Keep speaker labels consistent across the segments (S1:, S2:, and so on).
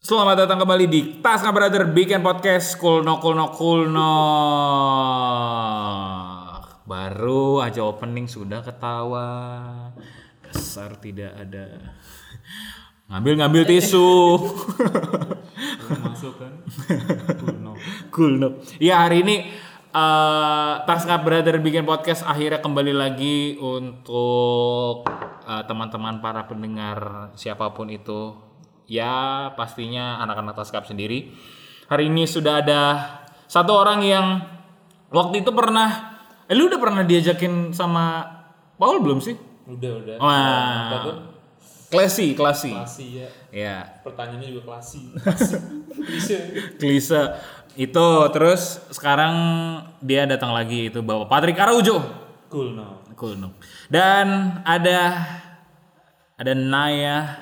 S1: Selamat datang kembali di Tas Nggak Brother Weekend Podcast Cool No Cool No Cool No. Baru aja opening sudah ketawa. Dasar tidak ada. Ngambil-ngambil tisu.
S2: masuk kan Kuno.
S1: cool No. Ya hari ini eh Tas Nggak Brother Weekend Podcast akhirnya kembali lagi untuk eh, teman-teman para pendengar siapapun itu. Ya pastinya anak-anak Tas Nggak sendiri. Hari ini sudah ada satu orang yang waktu itu pernah eh, lu udah pernah diajakin sama Paul belum sih?
S2: udah udah
S1: Oh.
S2: Apa tuh?
S1: Wah. Klasi, klasi.
S2: klasi ya
S1: Ya,
S2: pertanyaannya juga klasi Klasi. Klise.
S1: klise itu terus sekarang dia datang lagi itu bapak Patrick Araujo
S2: cool now
S1: cool no. dan ada ada Naya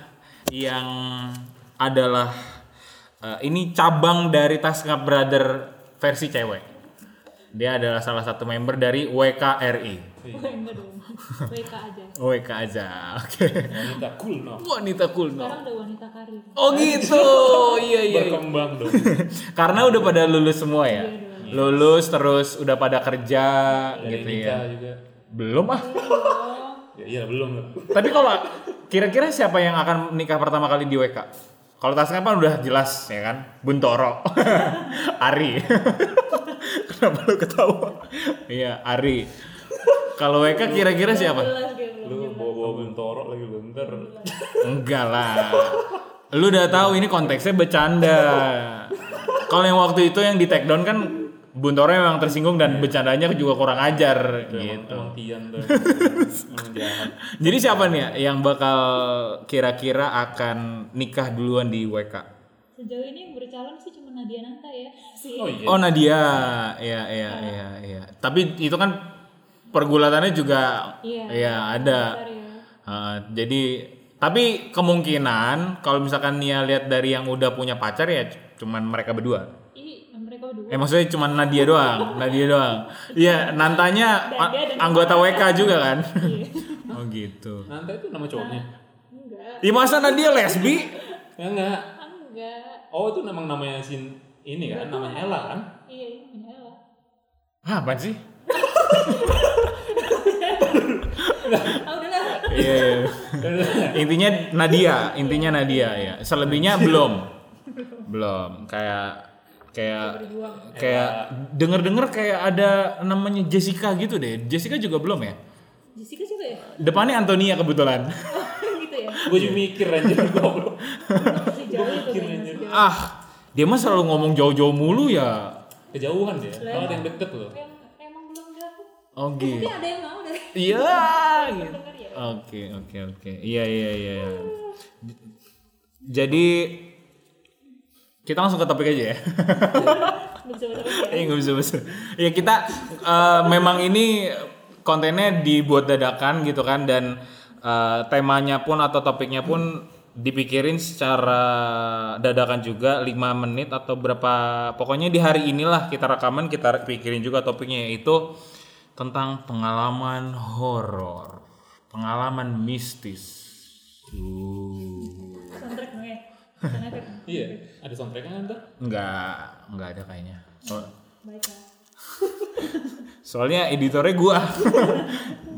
S1: yang adalah eh, ini cabang dari Tasngap Brother versi cewek dia adalah salah satu member dari WKRI
S3: Wah, enggak dong. WK aja.
S1: WK aja oke
S2: wanita cool now
S1: wanita cool no.
S3: Sekarang udah wanita karir.
S1: oh gitu iya iya iya.
S2: berkembang dong
S1: Karena udah pada lulus semua ya. Lulus terus udah pada kerja
S2: dari
S1: gitu ya.
S2: nikah juga
S1: Belum ah.
S2: ya iya belum lah
S1: Tapi kalau kira-kira siapa yang akan nikah pertama kali di WK? Kalau tasnya kan udah jelas ya kan? Buntoro. Ari. Kenapa lu ketawa? Iya, Ari. Kalau WK kira-kira siapa?
S3: Jelas kayak
S2: lu
S3: belum.
S2: bawa bawa bentoro lagi lu ntar
S1: Enggak lah. Lu udah tahu ini konteksnya bercanda. Kalau yang waktu itu yang di take down kan Buntoro memang tersinggung dan bercandanya juga kurang ajar
S2: emang
S1: gitu.
S2: emang tian tuh emang jahat
S1: Jadi siapa nih ya yang bakal kira-kira akan nikah duluan di WK?
S3: Sejauh ini yang bercalon sih cuma Nadia Nanta ya. Si
S2: oh iya
S1: Oh Nadia, iya iya iya iya. Tapi itu kan pergulatannya juga
S3: Iya.
S1: ya ada.
S3: Ntar ya.
S1: Uh, jadi tapi kemungkinan kalau misalkan Nia lihat dari yang udah punya pacar ya c- cuman mereka berdua.
S3: Ih, mereka berdua.
S1: Eh maksudnya cuman Nadia doang, Nadia doang. Iya, nantanya
S3: Dan
S1: a-
S3: dia dan-
S1: anggota WK juga kan.
S3: Iya.
S1: oh gitu.
S2: nanti itu nama cowoknya
S3: Enggak.
S1: Di masa Nadia lesbi?
S2: ya enggak
S3: Ah, Enggak.
S2: oh itu memang namanya sin ini kan namanya Ella kan
S3: Iya, ini punya Ella.
S1: Hah, apaan sih?
S3: Ah, udah lah.
S1: Iya. iya. intinya Nadia, intinya Nadia ya. Selebihnya belum. Belum. Kayak kayak
S3: Berjuang.
S1: kayak denger-denger kayak ada namanya Jessica gitu deh. Jessica juga belum ya?
S3: Jessica juga ya?
S1: Depannya Antonia kebetulan.
S3: gitu ya.
S2: gue juga mikir anjir goblok
S3: Sejauh itu kayaknya. Sejauh.
S1: ah, dia mah selalu ngomong jauh-jauh mulu ya.
S2: kejauhan dia kalau ada yang deket loh
S3: Yang emang belum dapet.
S1: Oh
S3: Tapi
S1: gitu.
S3: ada yang mau dari
S1: Iya. gitu.
S3: denger ya.
S1: Oke, oke, oke. Iya, iya, iya. iya. J- Jadi kita langsung ke topik aja ya.
S3: Belum sama sama ya.
S1: Eh nggak bisa bisa. Ya kita eh, memang ini kontennya dibuat dadakan gitu kan dan eh, temanya pun atau topiknya pun dipikirin secara dadakan juga 5 menit atau berapa pokoknya di hari inilah kita rekaman kita pikirin juga topiknya yaitu tentang pengalaman horor, pengalaman mistis. Tuh.
S3: Soundtrack dong ya. Soundtrack.
S2: iya ada soundtracknya kan tuh
S1: Enggak, enggak ada kayaknya. Oh,
S3: Baik lah.
S1: Soalnya editornya gua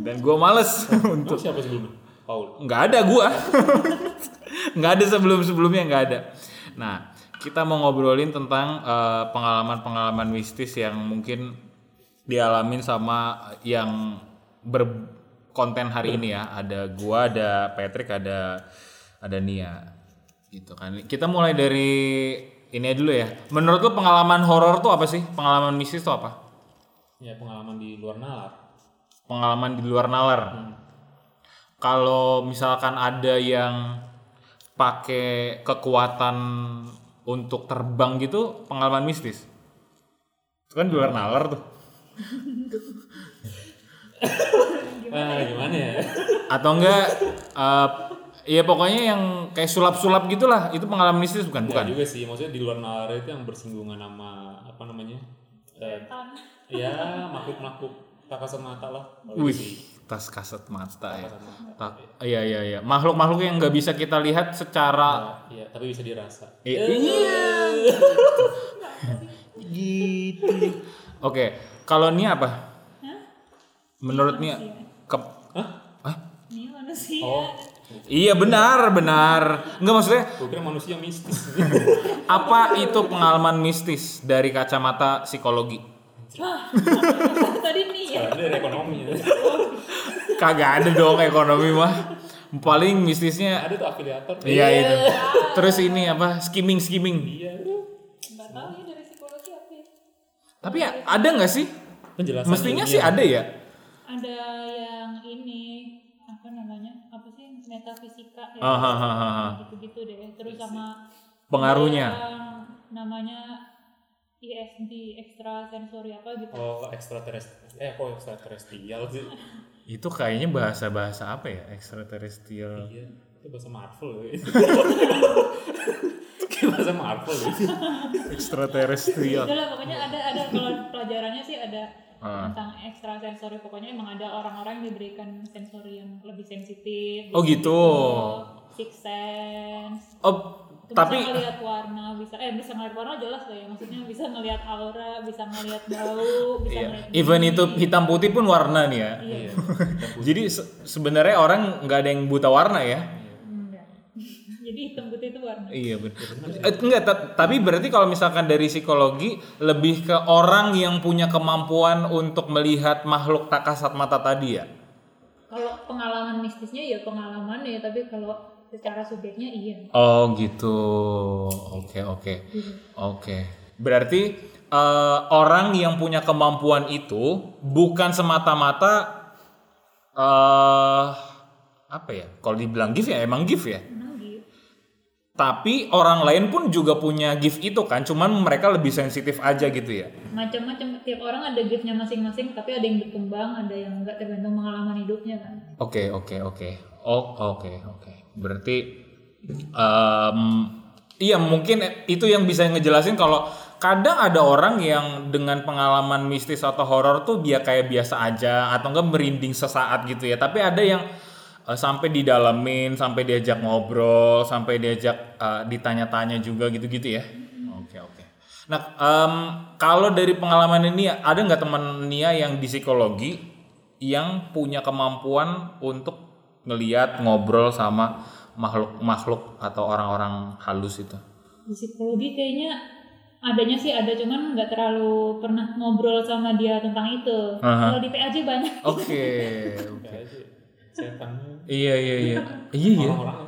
S1: dan gua males untuk
S2: Emang siapa sebelumnya? Paul.
S1: nggak ada gua. nggak ada sebelum-sebelumnya nggak ada. Nah, kita mau ngobrolin tentang eh, pengalaman-pengalaman mistis yang mungkin dialamin sama yang berkonten hari ini ya. Ada gua, ada Patrick, ada ada Nia. Gitu kan. Kita mulai dari ini aja dulu ya. Menurut lu pengalaman horor tuh apa sih? Pengalaman mistis tuh apa?
S2: Ya pengalaman di luar nalar.
S1: pengalaman di luar nalar. Kalau misalkan ada yang pakai kekuatan untuk terbang gitu, pengalaman mistis. Itu kan di luar nalar tuh.
S2: Gimana, gimana ya?
S1: Atau enggak eh, ya pokoknya yang kayak sulap-sulap gitulah, itu pengalaman mistis bukan? Bukan.
S2: Nggak juga sih, maksudnya di luar nalar itu yang bersinggungan sama apa namanya? Eh,
S3: Tan.
S1: iya.
S2: ya makhluk-makhluk tak kasat mata lah.
S1: Wih, tas kasat mata ya. Ta- Iya iya iya. Makhluk-makhluk yang nggak bisa kita lihat secara
S2: Iya, tapi bisa dirasa.
S1: I- Ah. iya. gitu. Oke, kalau Nia apa?
S3: Hah?
S1: Menurut Nia ke Hah?
S3: Ini manusia.
S2: Oh,
S1: Iya benar, benar. Enggak maksudnya
S2: gue kira manusia mistis.
S1: apa itu pengalaman mistis dari kacamata psikologi?
S3: Wah, tadi nih ya.
S2: Karena dari ekonominya.
S1: Kagak ada dong ekonomi mah. Paling mistisnya
S2: Ada tuh afiliator.
S1: iya itu. Terus ini apa? Skimming skimming.
S2: Iya.
S3: Nggak tahu ya dari psikologi apa ya.
S1: Tapi ya, ada nggak sih?
S2: Penjelasan.
S1: Mestinya
S2: ilmiah.
S1: sih ada ya.
S3: Ada yang ini apa namanya? Apa sih metafisika ya?
S1: Ah, ah, ah, ah.
S3: Gitu-gitu deh. Terus sama
S1: Iya Pengaruhnya.
S3: yang namanya ESD extra sensori apa gitu.
S2: Oh, ekstraterestri. Eh, kok ekstraterrestrial sih?
S1: Itu kayaknya bahasa-bahasa apa ya? Extraterrestrial.
S2: Iya. Itu bahasa Marvel. ya. Kayak bahasa Marvel. ya.
S1: Extraterrestrial.
S3: Udah gitu lah, pokoknya ada ada kalau pelajarannya sih ada
S1: Ah.
S3: tentang ekstra sensori pokoknya emang ada orang-orang yang diberikan sensori yang lebih sensitif
S1: Oh, gitu.
S3: six sense
S1: Oh,
S3: Itu
S1: tapi
S3: bisa ngelihat warna bisa eh bisa ngelihat warna jelas lah ya maksudnya bisa ngelihat aura bisa ngelihat bau bisa
S1: Iya.
S3: ngelihat
S1: Even
S3: bunyi.
S1: itu hitam putih pun warna nih ya.
S3: iya
S1: Jadi se- sebenarnya orang nggak ada yang buta warna ya.
S3: Enggak. jadi hitam putih itu warna
S1: Iya betul. enggak, ta- tapi berarti kalau misalkan dari psikologi lebih ke orang yang punya kemampuan untuk melihat makhluk tak kasat mata tadi ya.
S3: kalau pengalaman mistisnya ya pengalaman ya tapi kalau secara subjeknya iya
S1: Oh gitu. Oke oke oke. Berarti eh, orang yang punya kemampuan itu bukan semata-mata eh apa ya? Kalau dibilang gift ya emang gift ya.
S3: emang gitu
S1: Tapi orang lain pun juga punya gift itu kan, cuman mereka lebih sensitif aja gitu ya.
S3: macam-macam tiap orang ada giftnya masing-masing tapi ada yang berkembang ada yang enggak tergantung pengalaman hidupnya kan
S1: Oke, oke, oke. Oh, oke, oke. Berarti em, iya mungkin itu yang bisa ngejelasin kalau kadang ada orang yang dengan pengalaman mistis atau horor tuh dia kayak biasa aja atau enggak merinding sesaat gitu ya. Tapi ada yang eh, sampai didalemin, sampai diajak ngobrol, sampai diajak eh, ditanya-tanya juga gitu-gitu ya. Oke, oke. Nah, em, kalau dari pengalaman ini ada nggak teman Nia yang di psikologi yang punya kemampuan untuk ngeliat ngobrol sama makhluk-makhluk atau orang-orang halus itu?
S3: di psikologi kayaknya adanya sih ada cuman nggak terlalu pernah ngobrol sama dia tentang itu
S1: Aha.
S3: kalau di PAJ banyak
S1: Oke.
S2: Kayak aja. Setan.
S1: Iya iya iya. Iya iya.
S2: Orang-orang.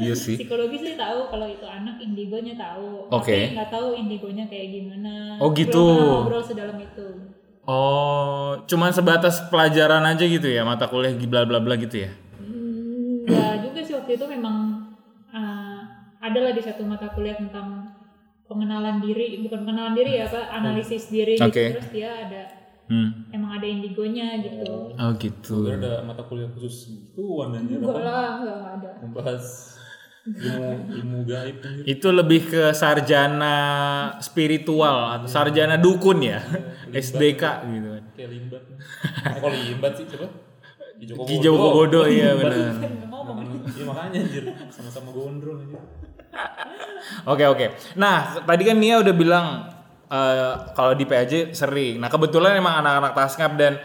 S1: Iya sih.
S3: psikologi sih tahu kalau itu anak indigonya tahu
S1: Oke.
S3: tapi nggak tahu indigonya kayak gimana
S1: Oh, gitu.
S3: belum pernah ngobrol sedalam itu
S1: Oh, cuman sebatas pelajaran aja gitu ya, mata kuliah bla bla bla gitu ya.
S3: Hmm, nggak juga sih waktu itu memang eh, adalah di satu mata kuliah tentang pengenalan diri bukan pengenalan diri ya apa analisis diri gitu.
S1: Oke.
S3: terus dia ada
S1: Hmm.
S3: emang ada indigonya gitu
S1: Oh
S2: Gue kira
S1: gitu.
S2: ada mata kuliah khusus gitu anjir.
S3: enggak lah nggak ada
S2: Membahas ilmu ilmu gaib anjir.
S1: Itu lebih ke sarjana spiritual atau sarjana dukun ya, SDK gitu.
S2: Kayak limbat. Eh, Kok limbat sih coba? Ki Joko
S1: Ki Joko Bodo iya benar.
S3: ngomong
S2: Iya makanya anjir, sama-sama gondrong anjir.
S1: Oke oke. Nah tadi kan Nia udah bilang eh, kalau di PAJ sering. Nah kebetulan emang anak-anak Taskap dan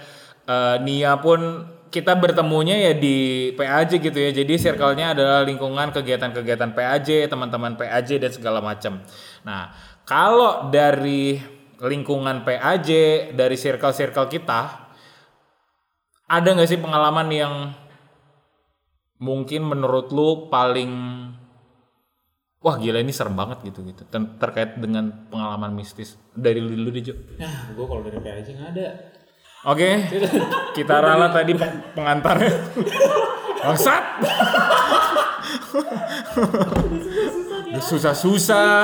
S1: eh, Nia pun kita bertemunya ya di PAJ gitu ya. Jadi circle-nya adalah lingkungan kegiatan-kegiatan PAJ, teman-teman PAJ dan segala macam. Nah kalau dari lingkungan PAJ dari circle-circle kita ada nggak sih pengalaman yang mungkin menurut lu paling wah gila ini serem banget gitu gitu Ten- terkait dengan pengalaman mistis dari lu dulu deh Jo.
S2: Nah, gue kalau dari PAJ nggak ada.
S1: Oke, kita ralat tadi pe- pengantarnya. Bangsat. Udah Susah-susah.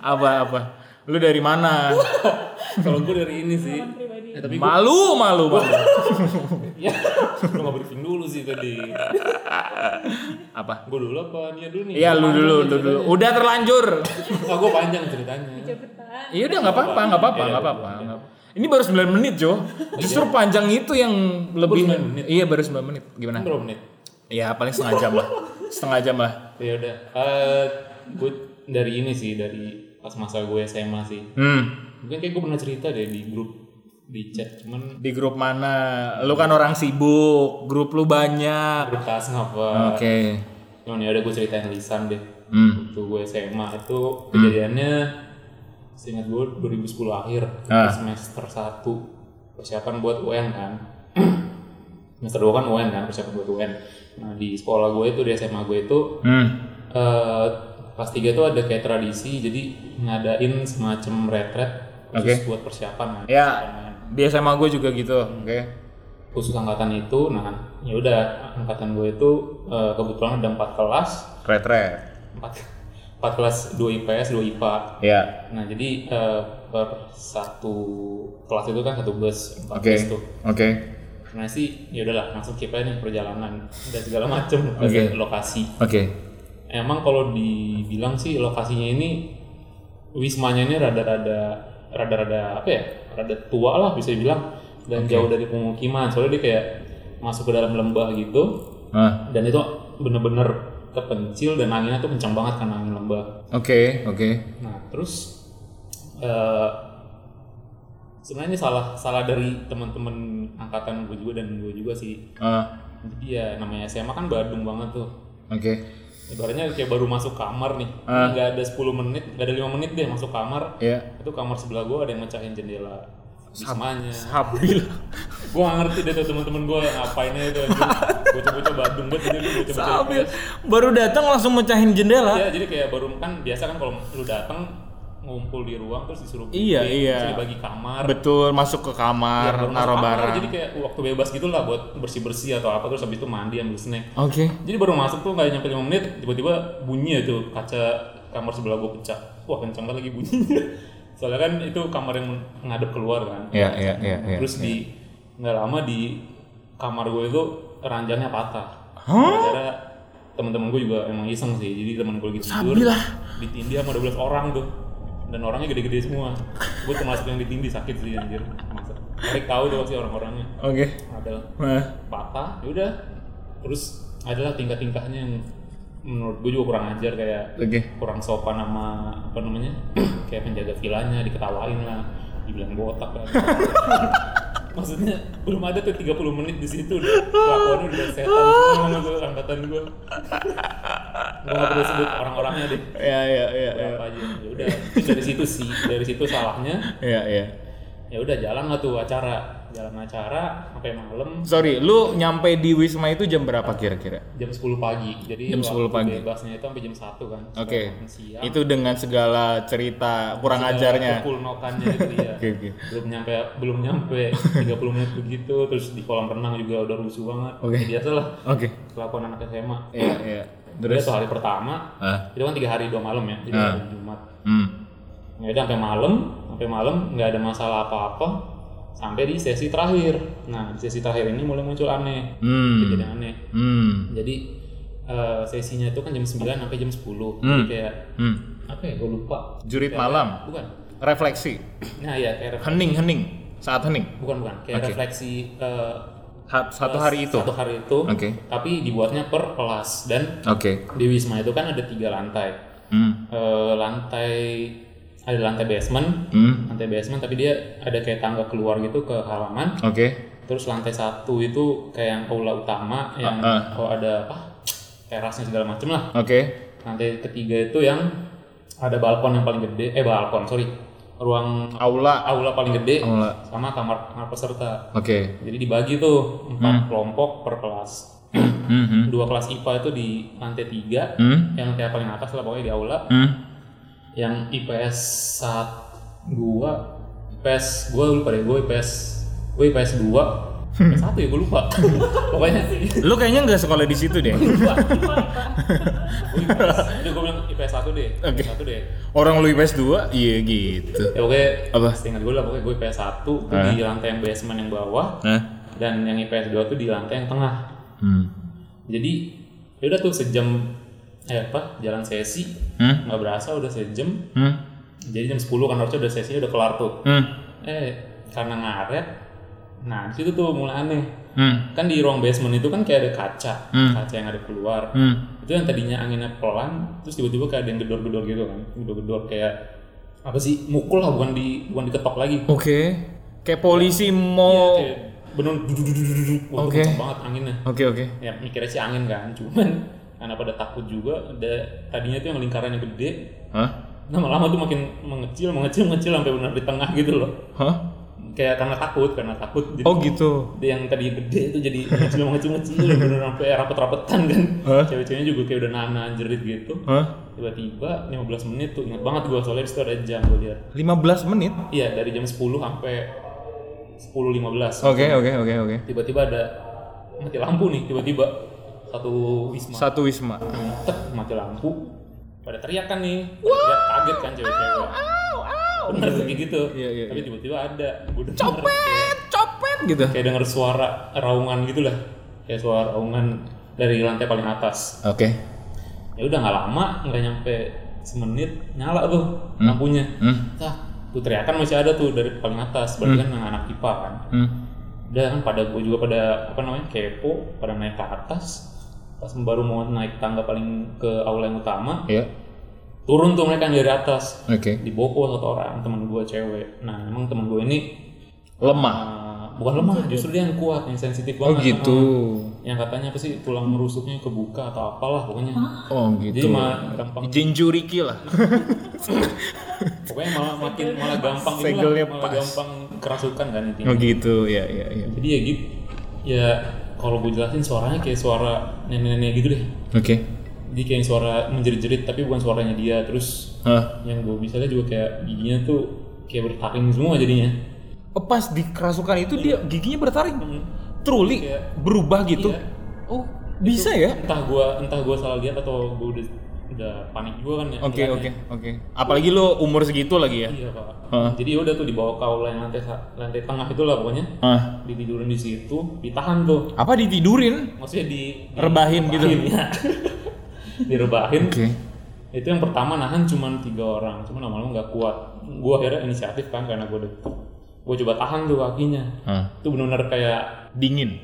S1: apa apa? Lu dari mana?
S2: Kalau gue dari ini sih.
S3: pribadi
S2: Ya, tapi
S1: Malu malu malu.
S2: ya, lu nggak briefing dulu. dulu sih tadi.
S1: Apa?
S2: Gue dulu apa dia dulu nih?
S1: Iya lu dulu, lu dulu. Udah terlanjur.
S2: Ah, gue panjang ceritanya.
S3: Cepetan.
S1: Iya udah nggak apa-apa, nggak apa-apa,
S2: iya,
S1: nggak apa-apa. nggak apa-apa. Ini baru 9 menit, Jo. Justru panjang itu yang lebih.
S2: Baru 9 menit.
S1: Iya, baru 9 menit. Gimana?
S2: Kan Berapa menit?
S1: Ya paling setengah jam lah. setengah jam lah.
S2: Ya udah. Eh, gue dari ini sih dari pas masa gue SMA sih.
S1: Hmm.
S2: Mungkin kayak gue pernah cerita deh di grup di chat cuman
S1: Di grup mana? Lu kan orang sibuk, grup lu banyak.
S2: grup tas
S1: Oke.
S2: ngapa? Cuman ya udah gue ceritain lisan deh.
S1: Hmm.
S2: Waktu gue SMA itu kejadiannya seingat gue 2010 akhir
S1: Ah.
S2: semester 1 persiapan buat UN kan. semester 2 kan UN kan persiapan buat UN. Nah, di sekolah gue itu di SMA gue itu
S1: Hmm.
S2: eh kelas 3 itu ada kayak tradisi jadi ngadain semacam retret khusus buat persiapan kan.
S1: Ya,
S2: Persiapan.
S1: di SMA gue juga gitu. Oke.
S2: khusus angkatan itu nah ya udah angkatan gue itu eh, kebetulan ada empat kelas
S1: Retret.
S2: empat empat kelas dua IPS dua IPA
S1: Ya.
S2: nah jadi eh, per satu kelas itu kan satu bus empat
S1: Oke.
S2: bus tuh
S1: Oke.
S2: nah sih ya udahlah langsung kita nih perjalanan dan segala macem
S1: Oke.
S2: lokasi
S1: Oke.
S2: emang kalau dibilang sih lokasinya ini wismanya ini rada-rada rada-rada apa ya rada tua lah bisa dibilang dan jauh dari pemukiman soalnya dia kayak masuk ke dalam lembah gitu
S1: Ah.
S2: dan itu bener-bener terpencil dan anginnya tuh kencang banget karena angin lembah
S1: Oke. Oke.
S2: nah terus eh sebenarnya ini salah salah dari teman-teman angkatan gue juga dan gue juga sih
S1: Ah.
S2: jadi ya namanya SMA kan Badung banget tuh
S1: Oke.
S2: Ibaratnya kayak baru masuk kamar nih,
S1: Ah.
S2: nggak ada 10 menit, nggak ada 5 menit deh masuk kamar.
S1: Ya.
S2: Itu kamar sebelah gua ada yang mecahin jendela. Bismanya.
S1: Sabi lah.
S2: Gua nggak ngerti deh tuh teman-teman gua ngapainnya itu. Bocah-bocah Badung banget jadi bocah-bocah.
S1: Sabi. Baru datang langsung mecahin jendela.
S2: Ya, jadi kayak baru kan biasa kan kalau lu datang ngumpul di ruang terus disuruh
S1: Iya,
S2: pilih,
S1: iya.
S2: terus dibagi kamar.
S1: Betul, Iya, masuk ke
S2: Ya,
S1: kamar,
S2: baru masuk
S1: naruh
S2: kamar,
S1: barang.
S2: Jadi kayak waktu bebas gitu lah buat bersih-bersih atau apa terus habis itu mandi ambil snack.
S1: Oke.
S2: Jadi baru masuk tuh nggak nyampe 5 menit, tiba-tiba bunyi aja tuh kaca kamar sebelah gua pecah. Wah kencang banget lagi bunyinya. Soalnya kan itu kamar yang ngadep keluar kan.
S1: Iya, iya, iya, iya.
S2: Terus di nggak lama di kamar gue itu ranjangnya patah. Karena teman-teman gue juga emang iseng sih. Jadi teman gue lagi tidur,
S1: Sabilah.
S2: ditindih sama 12 orang tuh. Dan orangnya gede-gede semua. Gue termasuk yang ditindih sakit sih anjir. Masa. Tarik tahu tuh sih orang-orangnya.
S1: Oke.
S2: Adalah
S1: Nah.
S2: patah ya udah terus adalah tingkah-tingkahnya yang menurut gue juga kurang ajar kayak
S1: Oke.
S2: kurang sopan sama apa namanya kayak penjaga vilanya diketawain lah dibilang botak lah maksudnya belum ada tuh 30 menit di situ udah kelakuan udah setan semua sama gue angkatan gue gue gak perlu sebut orang-orangnya deh
S1: Ya, ya, ya, ya.
S2: berapa aja ya udah Terus dari situ sih dari situ salahnya
S1: Ya, ya.
S2: ya udah jalan lah tuh acara jalan acara sampai malam
S1: Sorry, lu nyampe di Wisma itu jam berapa kira-kira?
S2: jam 10 pagi. Jadi
S1: Jam
S2: waktu
S1: 10 pagi.
S2: Bebasnya itu sampai jam 1 kan. Sampai
S1: Oke.
S2: makan Siang.
S1: Itu dengan segala cerita kurang ajarnya.
S2: Pukul nokannya itu ya.
S1: Oke, oke.
S2: Belum nyampe belum nyampe 30 menit begitu terus di kolam renang juga udah rusuh banget.
S1: Oke.
S2: Biasalah
S1: Oke.
S2: kelakuan anak SMA.
S1: Iya, iya. Terus
S2: Terus tuh hari pertama
S1: ah.
S2: itu kan tiga hari dua malam ya. Jadi
S1: Ah.
S2: hari Jumat.
S1: Hmm.
S2: Ya udah sampai malam, sampai malam nggak ada masalah apa-apa sampai di sesi terakhir. Nah, di sesi terakhir ini mulai muncul aneh.
S1: Hmm.
S2: Kejadian aneh.
S1: Hmm.
S2: Jadi eh, sesinya itu kan jam 9 sampai jam 10. Jadi
S1: Hmm.
S2: kayak
S1: Hmm.
S2: apa ya gue lupa
S1: Jurit malam,
S2: bukan
S1: refleksi,
S2: nah ya kayak ref-
S1: hening-hening saat hening.
S2: bukan bukan kayak
S1: Oke.
S2: refleksi eh,
S1: Ha- Satu hari itu.
S2: satu
S1: Oke.
S2: hari itu
S1: Oke.
S2: tapi dibuatnya per kelas dan di wisma itu kan ada tiga lantai
S1: Hmm.
S2: Eh, lantai ada lantai basement
S1: Hmm.
S2: lantai basement tapi dia ada kayak tangga keluar gitu ke halaman
S1: Oke.
S2: terus lantai satu itu kayak yang aula utama yang
S1: Ah, ah.
S2: kalau ada apa terasnya segala macem lah
S1: Oke.
S2: lantai ketiga itu yang ada balkon yang paling gede eh balkon sorry ruang
S1: Aula.
S2: aula paling gede
S1: Aula.
S2: sama kamar kamar peserta.
S1: Oke.
S2: Jadi dibagi tuh empat kelompok per kelas.
S1: Hmm. hmm.
S2: Dua kelas IPA itu di lantai tiga,
S1: Hmm.
S2: yang lantai paling atas lah pokoknya di aula.
S1: Hmm.
S2: Yang IPS saat gua IPS gua lupa deh, gua IPS gua IPS dua,
S1: Hmm.
S2: IPS satu ya gua lupa. pokoknya
S1: Lu kayaknya nggak sekolah di situ deh.
S2: gua IPS, udah gua bilang IPS satu deh,
S1: Oke.
S2: IPS satu deh.
S1: Orang lu IPS 2? Iya gitu.
S2: Ya pokoknya
S1: Apa?
S2: seingat gua lah pokoknya gua IPS satu tuh
S1: Eh.
S2: di lantai yang basement yang bawah
S1: Hah?
S2: dan yang IPS 2 tuh di lantai yang tengah
S1: Hmm.
S2: jadi ya udah tuh sejam eh apa jalan sesi
S1: Hmm?
S2: nggak berasa udah sejam
S1: Hmm?
S2: jadi jam 10 kan harusnya udah sesinya udah kelar tuh
S1: Hmm?
S2: eh karena ngaret nah di situ tuh mulai aneh
S1: Hmm?
S2: kan di ruang basement itu kan kayak ada kaca
S1: Hmm.
S2: kaca yang ada keluar
S1: Hmm?
S2: itu yang tadinya anginnya pelan terus tiba-tiba kayak ada yang gedor-gedor gitu kan gedor-gedor kayak apa sih mukul lah bukan di bukan diketok lagi
S1: Oke. Kayak polisi mau.
S2: Kayak bener dudududududud.
S1: Oh.
S2: Wah, itu
S1: Oke.
S2: kenceng banget anginnya
S1: Oke oke.
S2: ya mikirnya sih angin kan cuman karena pada takut juga ada tadinya tuh yang lingkarannya gede
S1: Hah?
S2: lama-lama tuh makin mengecil mengecil mengecil sampai benar di tengah gitu loh
S1: Hah?
S2: kayak karena takut karena takut jadi
S1: Oh gitu.
S2: dia yang tadi gede itu jadi mengecil mengecil mengecil bener sampai rapet-rapetan kan
S1: Hah?
S2: cewek-ceweknya juga kayak udah nahan-nahan jerit gitu
S1: Hah?
S2: tiba-tiba 15 menit tuh ingat banget gua soalnya di situ ada jam gua lihat
S1: 15 menit?
S2: iya dari jam 10 sampai 10.15
S1: Oke oke oke oke.
S2: tiba-tiba ada mati lampu nih tiba-tiba satu wisma
S1: Satu wisma.
S2: Tek, mati lampu pada teriak kan nih pada teriak kaget kan cewek-cewek bener tuh kayak gitu
S1: Iya, iya,
S2: tapi
S1: iya.
S2: tiba-tiba ada gua denger kayak,
S1: Copet gitu.
S2: kayak denger suara raungan gitu lah kayak suara raungan dari lantai paling atas
S1: Oke.
S2: ya udah nggak lama nggak nyampe semenit nyala tuh lampunya
S1: Hmm.
S2: Tah, tuh teriakan masih ada tuh dari paling atas berarti kan anak IPA kan
S1: Hmm.
S2: udah kan pada gue juga pada apa namanya kepo pada naik ke atas pas baru mau naik tangga paling ke aula yang utama
S1: Iya.
S2: turun tuh mereka yang dari atas
S1: Oke.
S2: dibokol satu orang teman gue cewek nah emang teman gue ini
S1: Lemah.
S2: uh, bukan lemah justru dia yang kuat yang sensitif
S1: Oh
S2: banget
S1: gitu.
S2: yang katanya apa sih tulang rusuknya kebuka atau apalah pokoknya
S1: Oh
S2: jadi
S1: gitu.
S2: mah gampang
S1: Jinjuriki lah.
S2: pokoknya malah makin malah gampang gitu
S1: Segelnya
S2: lah, malah
S1: pas.
S2: gampang kerasukan kan intinya
S1: Oh gitu. Ya ya ya.
S2: jadi ya gitu ya kalau gue jelasin suaranya kayak suara nenek-nenek gitu deh
S1: Oke.
S2: jadi kayak suara menjerit-jerit tapi bukan suaranya dia terus
S1: Hah?
S2: yang gue bisa lihat juga kayak giginya tuh kayak bertaring semua jadinya
S1: Oh, Pas di kerasukan itu dia giginya bertaring.
S2: Hmm.
S1: Truli
S2: Iya.
S1: berubah gitu.
S2: Iya.
S1: Oh, bisa ya?
S2: entah gue entah gue salah lihat atau gue udah udah panik juga kan ya
S1: Oke
S2: liatnya.
S1: oke oke. Apalagi lo umur segitu lagi ya?
S2: iya pak
S1: Hah.
S2: jadi udah tuh dibawa ke aula yang lantai sa- lantai tengah itu lah pokoknya
S1: Ah.
S2: ditidurin di situ ditahan tuh
S1: Apa ditidurin?
S2: maksudnya di, di-
S1: Rebahin gitu.
S2: ya. direbahin
S1: Oke.
S2: itu yang pertama nahan cuman tiga orang cuman lama-lama nggak kuat gue akhirnya inisiatif kan karena gue deket gue coba tahan tuh kakinya
S1: Ah.
S2: itu benar-benar kayak
S1: Dingin.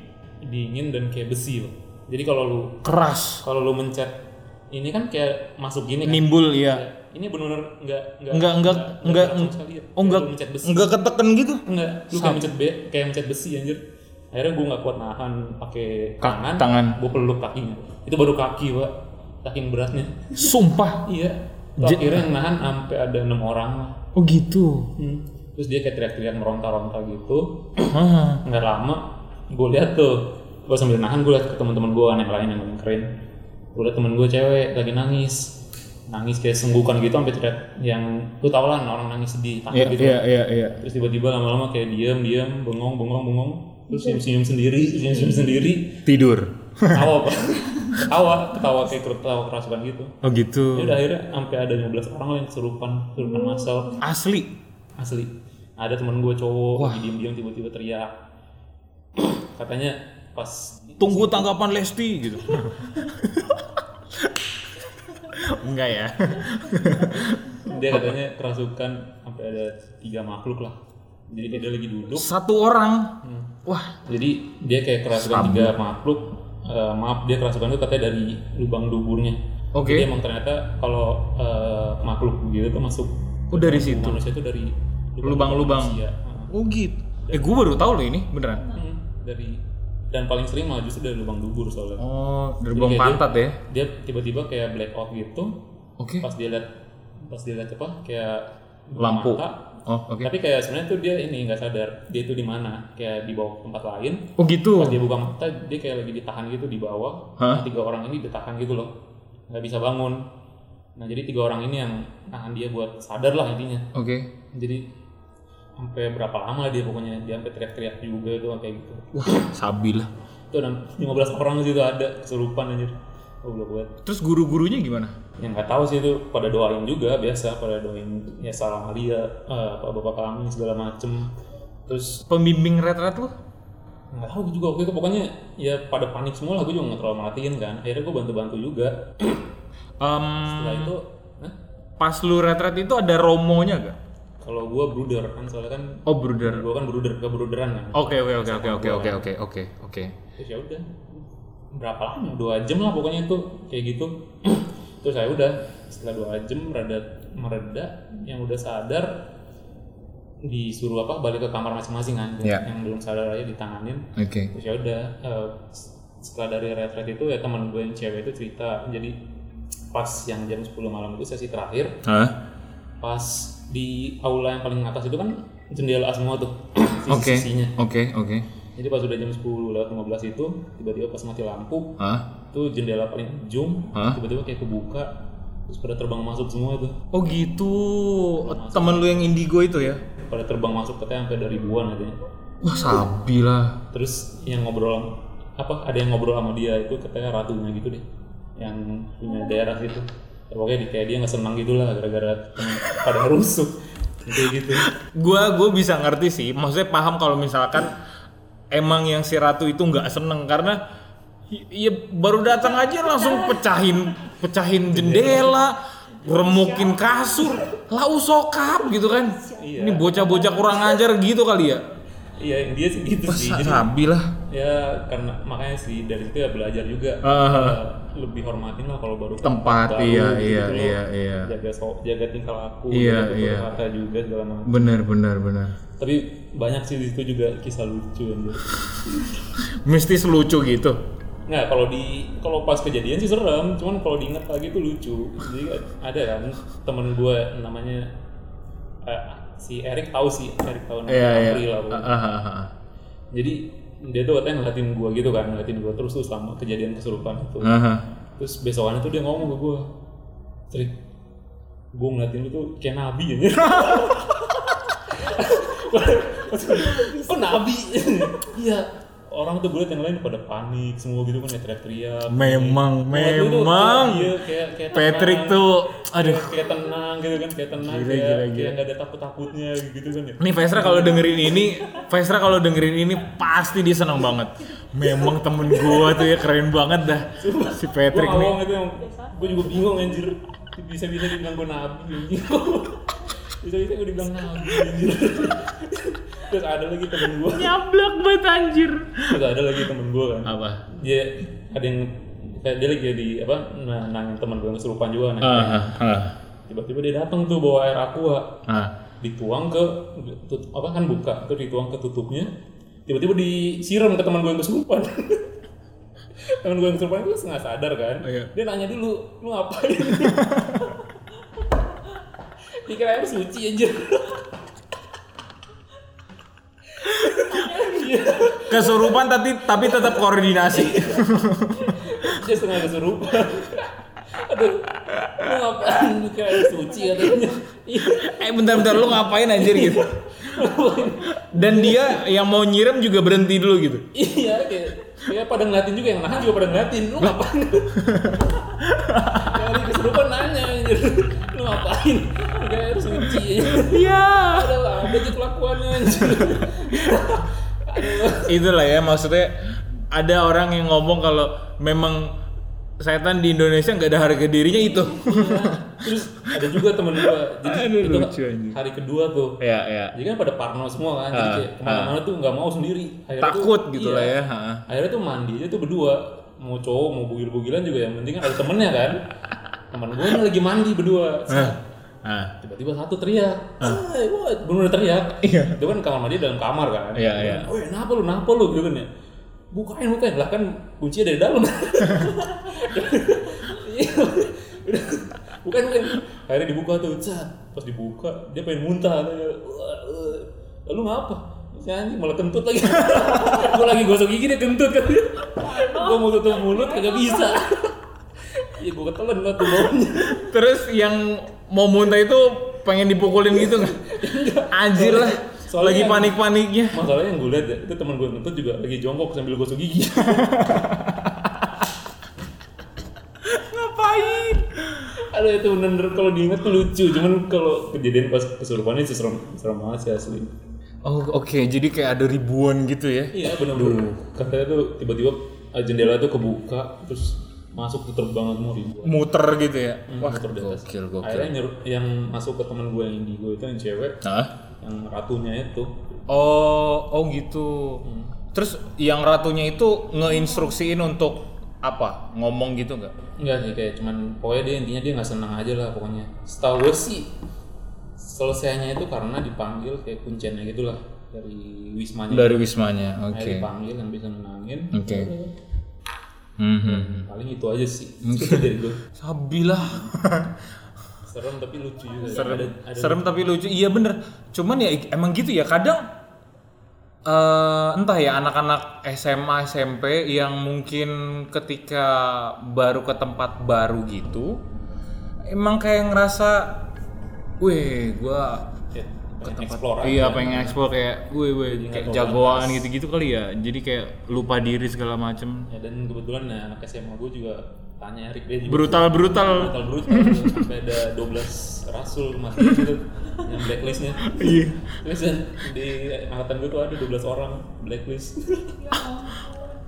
S2: dingin dan kayak besi loh. jadi kalau lu
S1: Keras.
S2: kalau lu mencet ini kan kayak masuk gini kan
S1: Nimbul ya.
S2: ini benar-benar nggak
S1: Enggak enggak enggak
S2: langsung sekali ya.
S1: oh enggak
S2: Kayak lu mencet besi
S1: enggak keteken gitu.
S2: enggak lu kayak mencet be kayak mencet besi anjir akhirnya gue nggak kuat nahan pakai
S1: Ka-
S2: tangan
S1: tangan.
S2: gue peluk kakinya itu baru kaki pak saking beratnya
S1: Sumpah.
S2: Iya. Tuh
S1: Je-
S2: akhirnya yang nahan sampai ada enam orang lah.
S1: Oh gitu.
S2: Hmm. Terus dia kayak teriak-teriak meronta-ronta gitu.
S1: Ah.
S2: Nggak lama, gue lihat tuh. Gue sambil nahan gue lihat ke teman-teman gue yang lain yang paling keren. Gue lihat temen gue cewek lagi nangis, nangis kayak senggukan gitu sampai teriak yang lu tau lah orang nangis sedih takut
S1: Iya
S2: gitu.
S1: iya iya iya.
S2: Terus tiba-tiba lama-lama kayak diam-diam, bengong, bengong, bengong. Terus senyum-senyum sendiri,
S1: Iya.
S2: senyum-senyum sendiri.
S1: Tidur.
S2: Ketawa, Pak. ketawa, ketawa kayak ketawa kerasukan gitu.
S1: Oh gitu.
S2: Ya udah akhirnya sampai ada 15 orang lah yang kesurupan, kesurupan masal
S1: Asli.
S2: asli. Ada teman gue cowok lagi diem-diem tiba-tiba teriak. Katanya pas
S1: Tunggu tanggapan Lesti gitu. Enggak ya.
S2: dia katanya kerasukan sampai ada tiga makhluk lah. Jadi dia lagi duduk.
S1: Satu orang. Wah,
S2: Jadi dia kayak kerasukan tiga makhluk. Eh, maaf dia kerasukan itu katanya dari lubang duburnya.
S1: Oke.
S2: Jadi emang ternyata kalau eh, makhluk begitu tuh masuk
S1: oh dari situ.
S2: manusia itu dari
S1: Lubang-lubang.
S2: manusia. Heeh.
S1: Oh gitu. Eh gue baru tahu loh ini beneran.
S2: Hmm, dari dan paling sering malah justru dari lubang dubur soalnya.
S1: Oh, dari buang
S2: Jadi kayak
S1: pantat ya.
S2: dia tiba-tiba kayak black out gitu
S1: Oke.
S2: pas dia lihat pas dia lihat apa kayak
S1: Lampu.
S2: mata.
S1: Oh, oke.
S2: tapi kayak sebenarnya tuh dia ini nggak sadar dia tuh di mana kayak dibawa ke tempat lain
S1: Oh gitu.
S2: pas dia buka mata dia kayak lagi ditahan gitu di bawah
S1: Hah?
S2: Nah, tiga orang ini ditahan gitu loh nggak bisa bangun nah jadi tiga orang ini yang nahan dia buat sadar lah intinya
S1: Oke.
S2: jadi sampai berapa lama dia pokoknya dia sampai teriak-teriak juga tuh kayak gitu
S1: Wah, sabi lah.
S2: itu ada 15 orang di situ ada kesurupan anjir oh belum buat
S1: Terus guru-gurunya gimana?
S2: yang Ya, nggak tahu sih itu pada doain juga biasa pada doain ya salam alia eh, apa bapak kami segala macem terus
S1: Pembimbing retret lu?
S2: nggak tahu gue juga waktu itu pokoknya ya pada panik semua lah gue juga nggak terlalu matiin kan akhirnya gue bantu-bantu juga
S1: Em,
S2: setelah itu nah,
S1: pas lu retret itu ada romonya gak?
S2: kalau gue brooder kan soalnya kan
S1: Oh brother.
S2: gue kan brooder ke brooderan kan
S1: Oke oke oke oke oke oke oke oke oke.
S2: terus ya udah berapa lama dua jam lah pokoknya itu kayak gitu terus saya udah setelah dua jam mereda mereda yang udah sadar disuruh apa balik ke kamar masing-masing kan
S1: Iya.
S2: yang belum sadar aja ditanganin
S1: Oke.
S2: terus ya udah eh, setelah dari retret itu ya teman gue yang cewek itu cerita jadi pas yang jam 10 malam itu sesi terakhir
S1: Hah?
S2: pas di aula yang paling atas itu kan jendela semua tuh
S1: Oke.
S2: sisi-sisinya
S1: Oke oke.
S2: jadi pas udah jam 10 lewat 15 itu tiba-tiba pas mati lampu
S1: Hah?
S2: itu jendela paling ujung
S1: Hah?
S2: tiba-tiba kayak kebuka terus pada terbang masuk semua itu
S1: Oh gitu. Temen lu yang indigo itu ya?
S2: pada terbang masuk katanya sampai ada ribuan katanya
S1: Wah sabi lah.
S2: terus yang ngobrol apa ada yang ngobrol sama dia itu katanya ratunya gitu deh yang punya daerah gitu ya, pokoknya di, kayak dia nggak senang gitulah gara-gara pada rusuh kayak gitu
S1: Gua gua bisa ngerti sih. Maksudnya paham kalau misalkan emang yang si ratu itu nggak seneng karena i- ya baru datang aja langsung pecahin pecahin jendela remukin kasur lau sokap gitu kan
S2: Iya.
S1: ini bocah-bocah kurang ajar gitu kali ya
S2: iya yang dia sih gitu
S1: Wah,
S2: sih Jadi,
S1: sabi lah
S2: ya karena makanya sih dari situ ya belajar juga
S1: Ah.
S2: Eh, lebih hormatin lah kalau baru
S1: Tempat,
S2: baru
S1: iya,
S2: gitu-gitu
S1: iya,
S2: loh.
S1: iya, iya.
S2: jaga so- jaga tingkah laku
S1: Iya,
S2: jaga
S1: iya.
S2: tutur kata juga segala macam
S1: bener bener bener
S2: tapi banyak sih di situ juga kisah lucu anjir.
S1: mistis lucu gitu
S2: Nah, kalau di kalau pas kejadian sih serem, cuman kalau diingat lagi tuh lucu. Jadi ada kan temen gue namanya eh, si Erik tahu sih, Erik tahu namanya
S1: Iya
S2: April
S1: iya.
S2: lah. pokoknya.
S1: Ah, ah, ah.
S2: Jadi dia tuh katanya ngeliatin gue gitu kan, ngeliatin gue terus tuh selama kejadian kesurupan itu.
S1: Ah, ah.
S2: Terus besokannya tuh dia ngomong ke gue, Trik, gue ngeliatin lu tuh kayak nabi ya. oh nabi? Iya. Orang tuh gue liat yang lain pada panik, semua gitu kan ya teriak-teriak.
S1: Memang,
S2: Gua liat lu tuh,
S1: memang.
S2: Iya, kayak, kayak
S1: Patrick
S2: tenang.
S1: tuh aduh
S2: Kayak- kayak tenang gitu kan, kayak tenang,
S1: Gila,
S2: kayak,
S1: gila, gila.
S2: kayak gak ada takut-takutnya gitu kan ya.
S1: Nih Vesra kalau dengerin ini, Vesra kalau dengerin ini pasti dia seneng banget. Memang temen gua tuh ya keren banget dah si
S2: Gue
S1: Patrick nih.
S2: awong itu yang, gue juga bingung anjir. Bisa-bisa dibilang gue nabi anjir. Bisa-bisa gue dibilang nabi anjir. Terus ada lagi temen gue,
S1: Nyablak banget anjir.
S2: terus ada lagi temen gue kan.
S1: Apa?
S2: Dia ada yang, kayak dia lagi di apa, nah, nangin temen gue yang kesurupan juga. Nah.
S1: Ah, ah, ah,
S2: Tiba-tiba dia datang tuh bawa air aqua.
S1: ah.
S2: dituang ke tut- apa kan buka terus dituang ke tutupnya tiba-tiba disiram ke teman gue yang kesurupan teman gue yang kesurupan itu nggak sadar kan
S1: Iya.
S2: dia nanya dulu lu ngapain pikir air suci aja
S1: Kesurupan tapi tapi tetap koordinasi.
S2: dia setengah kesurupan aduh lu ngapain pikir air suci katanya iya
S1: eh bentar-bentar lu ngapain anjir gitu. Dan dia yang mau nyiram juga berhenti dulu gitu.
S2: iya kayak kayak pada ngeliatin juga yang nahan juga pada ngeliatin lu ngapain dari kesurupan nanya anjir lu ngapain kayak harus nguci
S1: Iya.
S2: ada ada aja kelakuannya anjir
S1: Itulah ya maksudnya ada orang yang ngomong kalau memang setan di Indonesia nggak ada harga dirinya itu.
S2: Iya. terus ada juga temen gua jadi
S1: Aduh,
S2: itu
S1: lucu anjir.
S2: hari kedua tuh
S1: Iya, iya.
S2: jadi kan pada parno semua kan jadi
S1: Ah,
S2: kayak kemana-mana tuh nggak mau sendiri Akhirnya tuh-
S1: Takut gitu
S2: iya.
S1: lah ya. ha.
S2: akhirnya tuh mandi aja tuh berdua mau cowok mau bugil-bugilan juga yang penting kan ada temennya kan temen gue ini lagi mandi berdua
S1: Ah.
S2: tiba-tiba satu teriak "Hey, what?" bener teriak
S1: Iya.
S2: itu kan kamar mandi dalam kamar kan
S1: Iya, iya.
S2: oh kenapa lu kenapa lu gitu kan ya bukain bukain lah kan kuncinya dari dalam Iya. Udah. bukain bukain akhirnya dibuka tuh cat pas dibuka dia pengen muntah Dia, "Wah, eh." lalu ngapa si anjing malah kentut lagi gue lagi gosok gigi dia kentut kan gue mau tutup mulut kagak bisa Iya gue ketelan lah tuh baunya
S1: Terus yang mau muntah itu pengen dipukulin gitu nggak? Anjir lah. lagi
S2: Soalnya-
S1: panik-paniknya.
S2: Masalahnya yang gue lihat ya, itu teman gue ngentut juga lagi jongkok sambil gosok gigi.
S1: Ngapain?
S2: Aduh itu bener-bener kalau diinget tuh lucu, cuman kalau kejadian pas kesurupan itu serem, serem banget sih asli.
S1: Oh oke, jadi kayak ada ribuan gitu ya?
S2: Iya benar-benar. Katanya tuh tiba-tiba eh, jendela tuh kebuka terus masuk tuh terbang semua ribuan.
S1: Muter gitu ya? Wah
S2: motor di atas.
S1: gokil gokil.
S2: Akhirnya nyeru- yang masuk ke teman gue yang indigo itu yang cewek,
S1: Hah?
S2: yang ratunya itu.
S1: Oh oh gitu. Terus yang ratunya itu ngeinstruksiin untuk apa? Ngomong gitu nggak?
S2: Enggak sih kayak cuman pokoknya dia intinya dia nggak senang aja lah pokoknya. Setahu gue sih selesainya itu karena dipanggil kayak kunciannya gitulah dari wismanya.
S1: Dari wismanya, oke.
S2: Akhirnya dipanggil yang bisa nenangin.
S1: Oke. Mhm.
S2: Paling itu aja sih. Itu dari gue.
S1: Sabilah.
S2: Serem tapi lucu juga. ya.
S1: serem,
S2: Ada, ada
S1: serem tapi lucu. Iya bener. Cuman ya ik- emang gitu ya. Kadang eh, entah ya anak-anak SMA SMP yang mungkin ketika baru ke tempat baru gitu, emang kayak ngerasa, wih gua
S2: ya, pengen explore aja.
S1: Iya pengen ekspor kayak, wih wih kayak jagoan gitu-gitu kali ya. Jadi kayak lupa diri segala macem.
S2: Ya, dan kebetulan ya, anak SMA gue juga tanya Erik dia juga
S1: Brutal brutal.
S2: brutal brutal sampai ada 12 rasul masuk itu yang blacklistnya
S1: Iya.
S2: terus yang di angkatan gue tuh ada 12 orang blacklist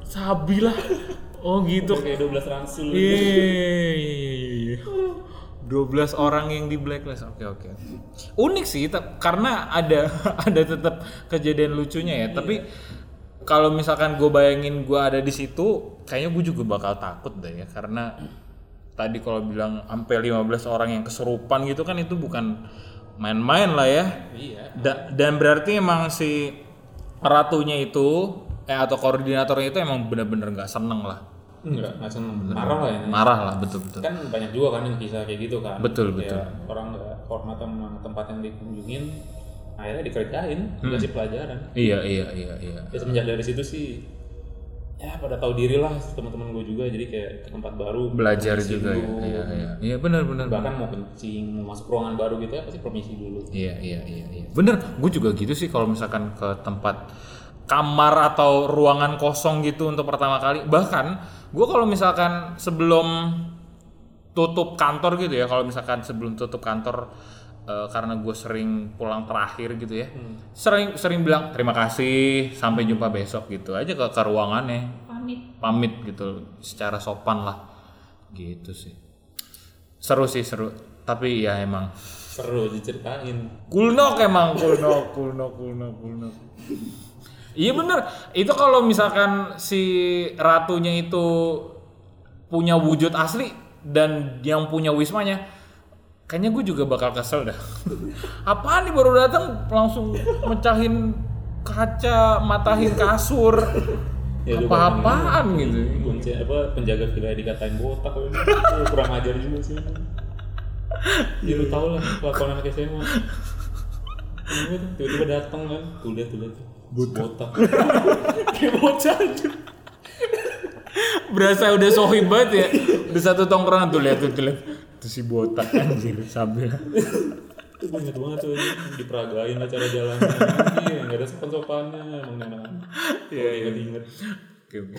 S1: Sabilah. Oh gitu.
S2: itu kayak 12 rasul
S1: Iya, iya, iya, iya, iya. 12 orang yang di blacklist. Oke, oke. Unik sih tep- karena ada ada tetap kejadian lucunya ya, tapi kalau misalkan gue bayangin gue ada di situ, kayaknya gue juga bakal takut deh ya karena tadi kalau bilang sampai 15 orang yang keserupan gitu kan itu bukan main-main lah ya.
S2: iya
S1: Da- dan berarti emang si ratunya itu eh atau koordinatornya itu emang bener-bener nggak seneng lah.
S2: enggak nggak seneng marah lah ya
S1: Marah lah betul-betul.
S2: kan banyak juga kan yang kisah kayak gitu kan
S1: Betul,
S2: Ya,
S1: betul.
S2: orang nggak hormat sama tempat yang dikunjungin akhirnya dikerjain
S1: Hmm.
S2: dikasih pelajaran
S1: Iya iya iya iya.
S2: ya semenjak dari situ sih ya pada tahu diri lah teman-teman gue juga jadi kayak ke tempat baru
S1: Belajar
S2: permisi
S1: juga ya.
S2: dulu.
S1: Iya iya. Iya benar benar.
S2: bahkan mau kencing mau masuk ruangan baru gitu ya pasti permisi dulu
S1: Iya iya iya iya. Bener, gue juga gitu sih kalau misalkan ke tempat kamar atau ruangan kosong gitu untuk pertama kali. Bahkan gue kalau misalkan sebelum tutup kantor gitu ya, kalau misalkan sebelum tutup kantor eh, karena gue sering pulang terakhir gitu ya, sering sering bilang terima kasih, sampai jumpa besok gitu aja ke, ke ruangannya.
S3: pamit
S1: pamit gitu secara sopan lah gitu sih seru sih seru tapi ya emang
S2: seru diceritain
S1: kulnok emang kulnok kulnok kulnok kulnok iya bener itu kalau misalkan si ratunya itu punya wujud asli dan yang punya wismanya kayaknya gue juga bakal kesel dah apaan nih baru datang langsung mecahin kaca matahin kasur
S2: Ya, lu
S1: apa-apaan gitu
S2: kunci apa penjaga villa dikatain botak lu. Lu kurang ajar juga sih ya lu tau lah kelakuan anak SMA Temen gua tuh tiba-tiba dateng kan tuh lihat tuh lihat tuh. botak kayak bocah aja
S1: berasa udah sohib banget ya di satu tongkrongan tuh lihat tuh tuh lihat tuh si botak anjir sambil
S2: Itu gue inget banget tuh diperagain lah cara jalannya iya nggak ada sopan sopannya emang emang iya inget inget
S1: Oke, oke.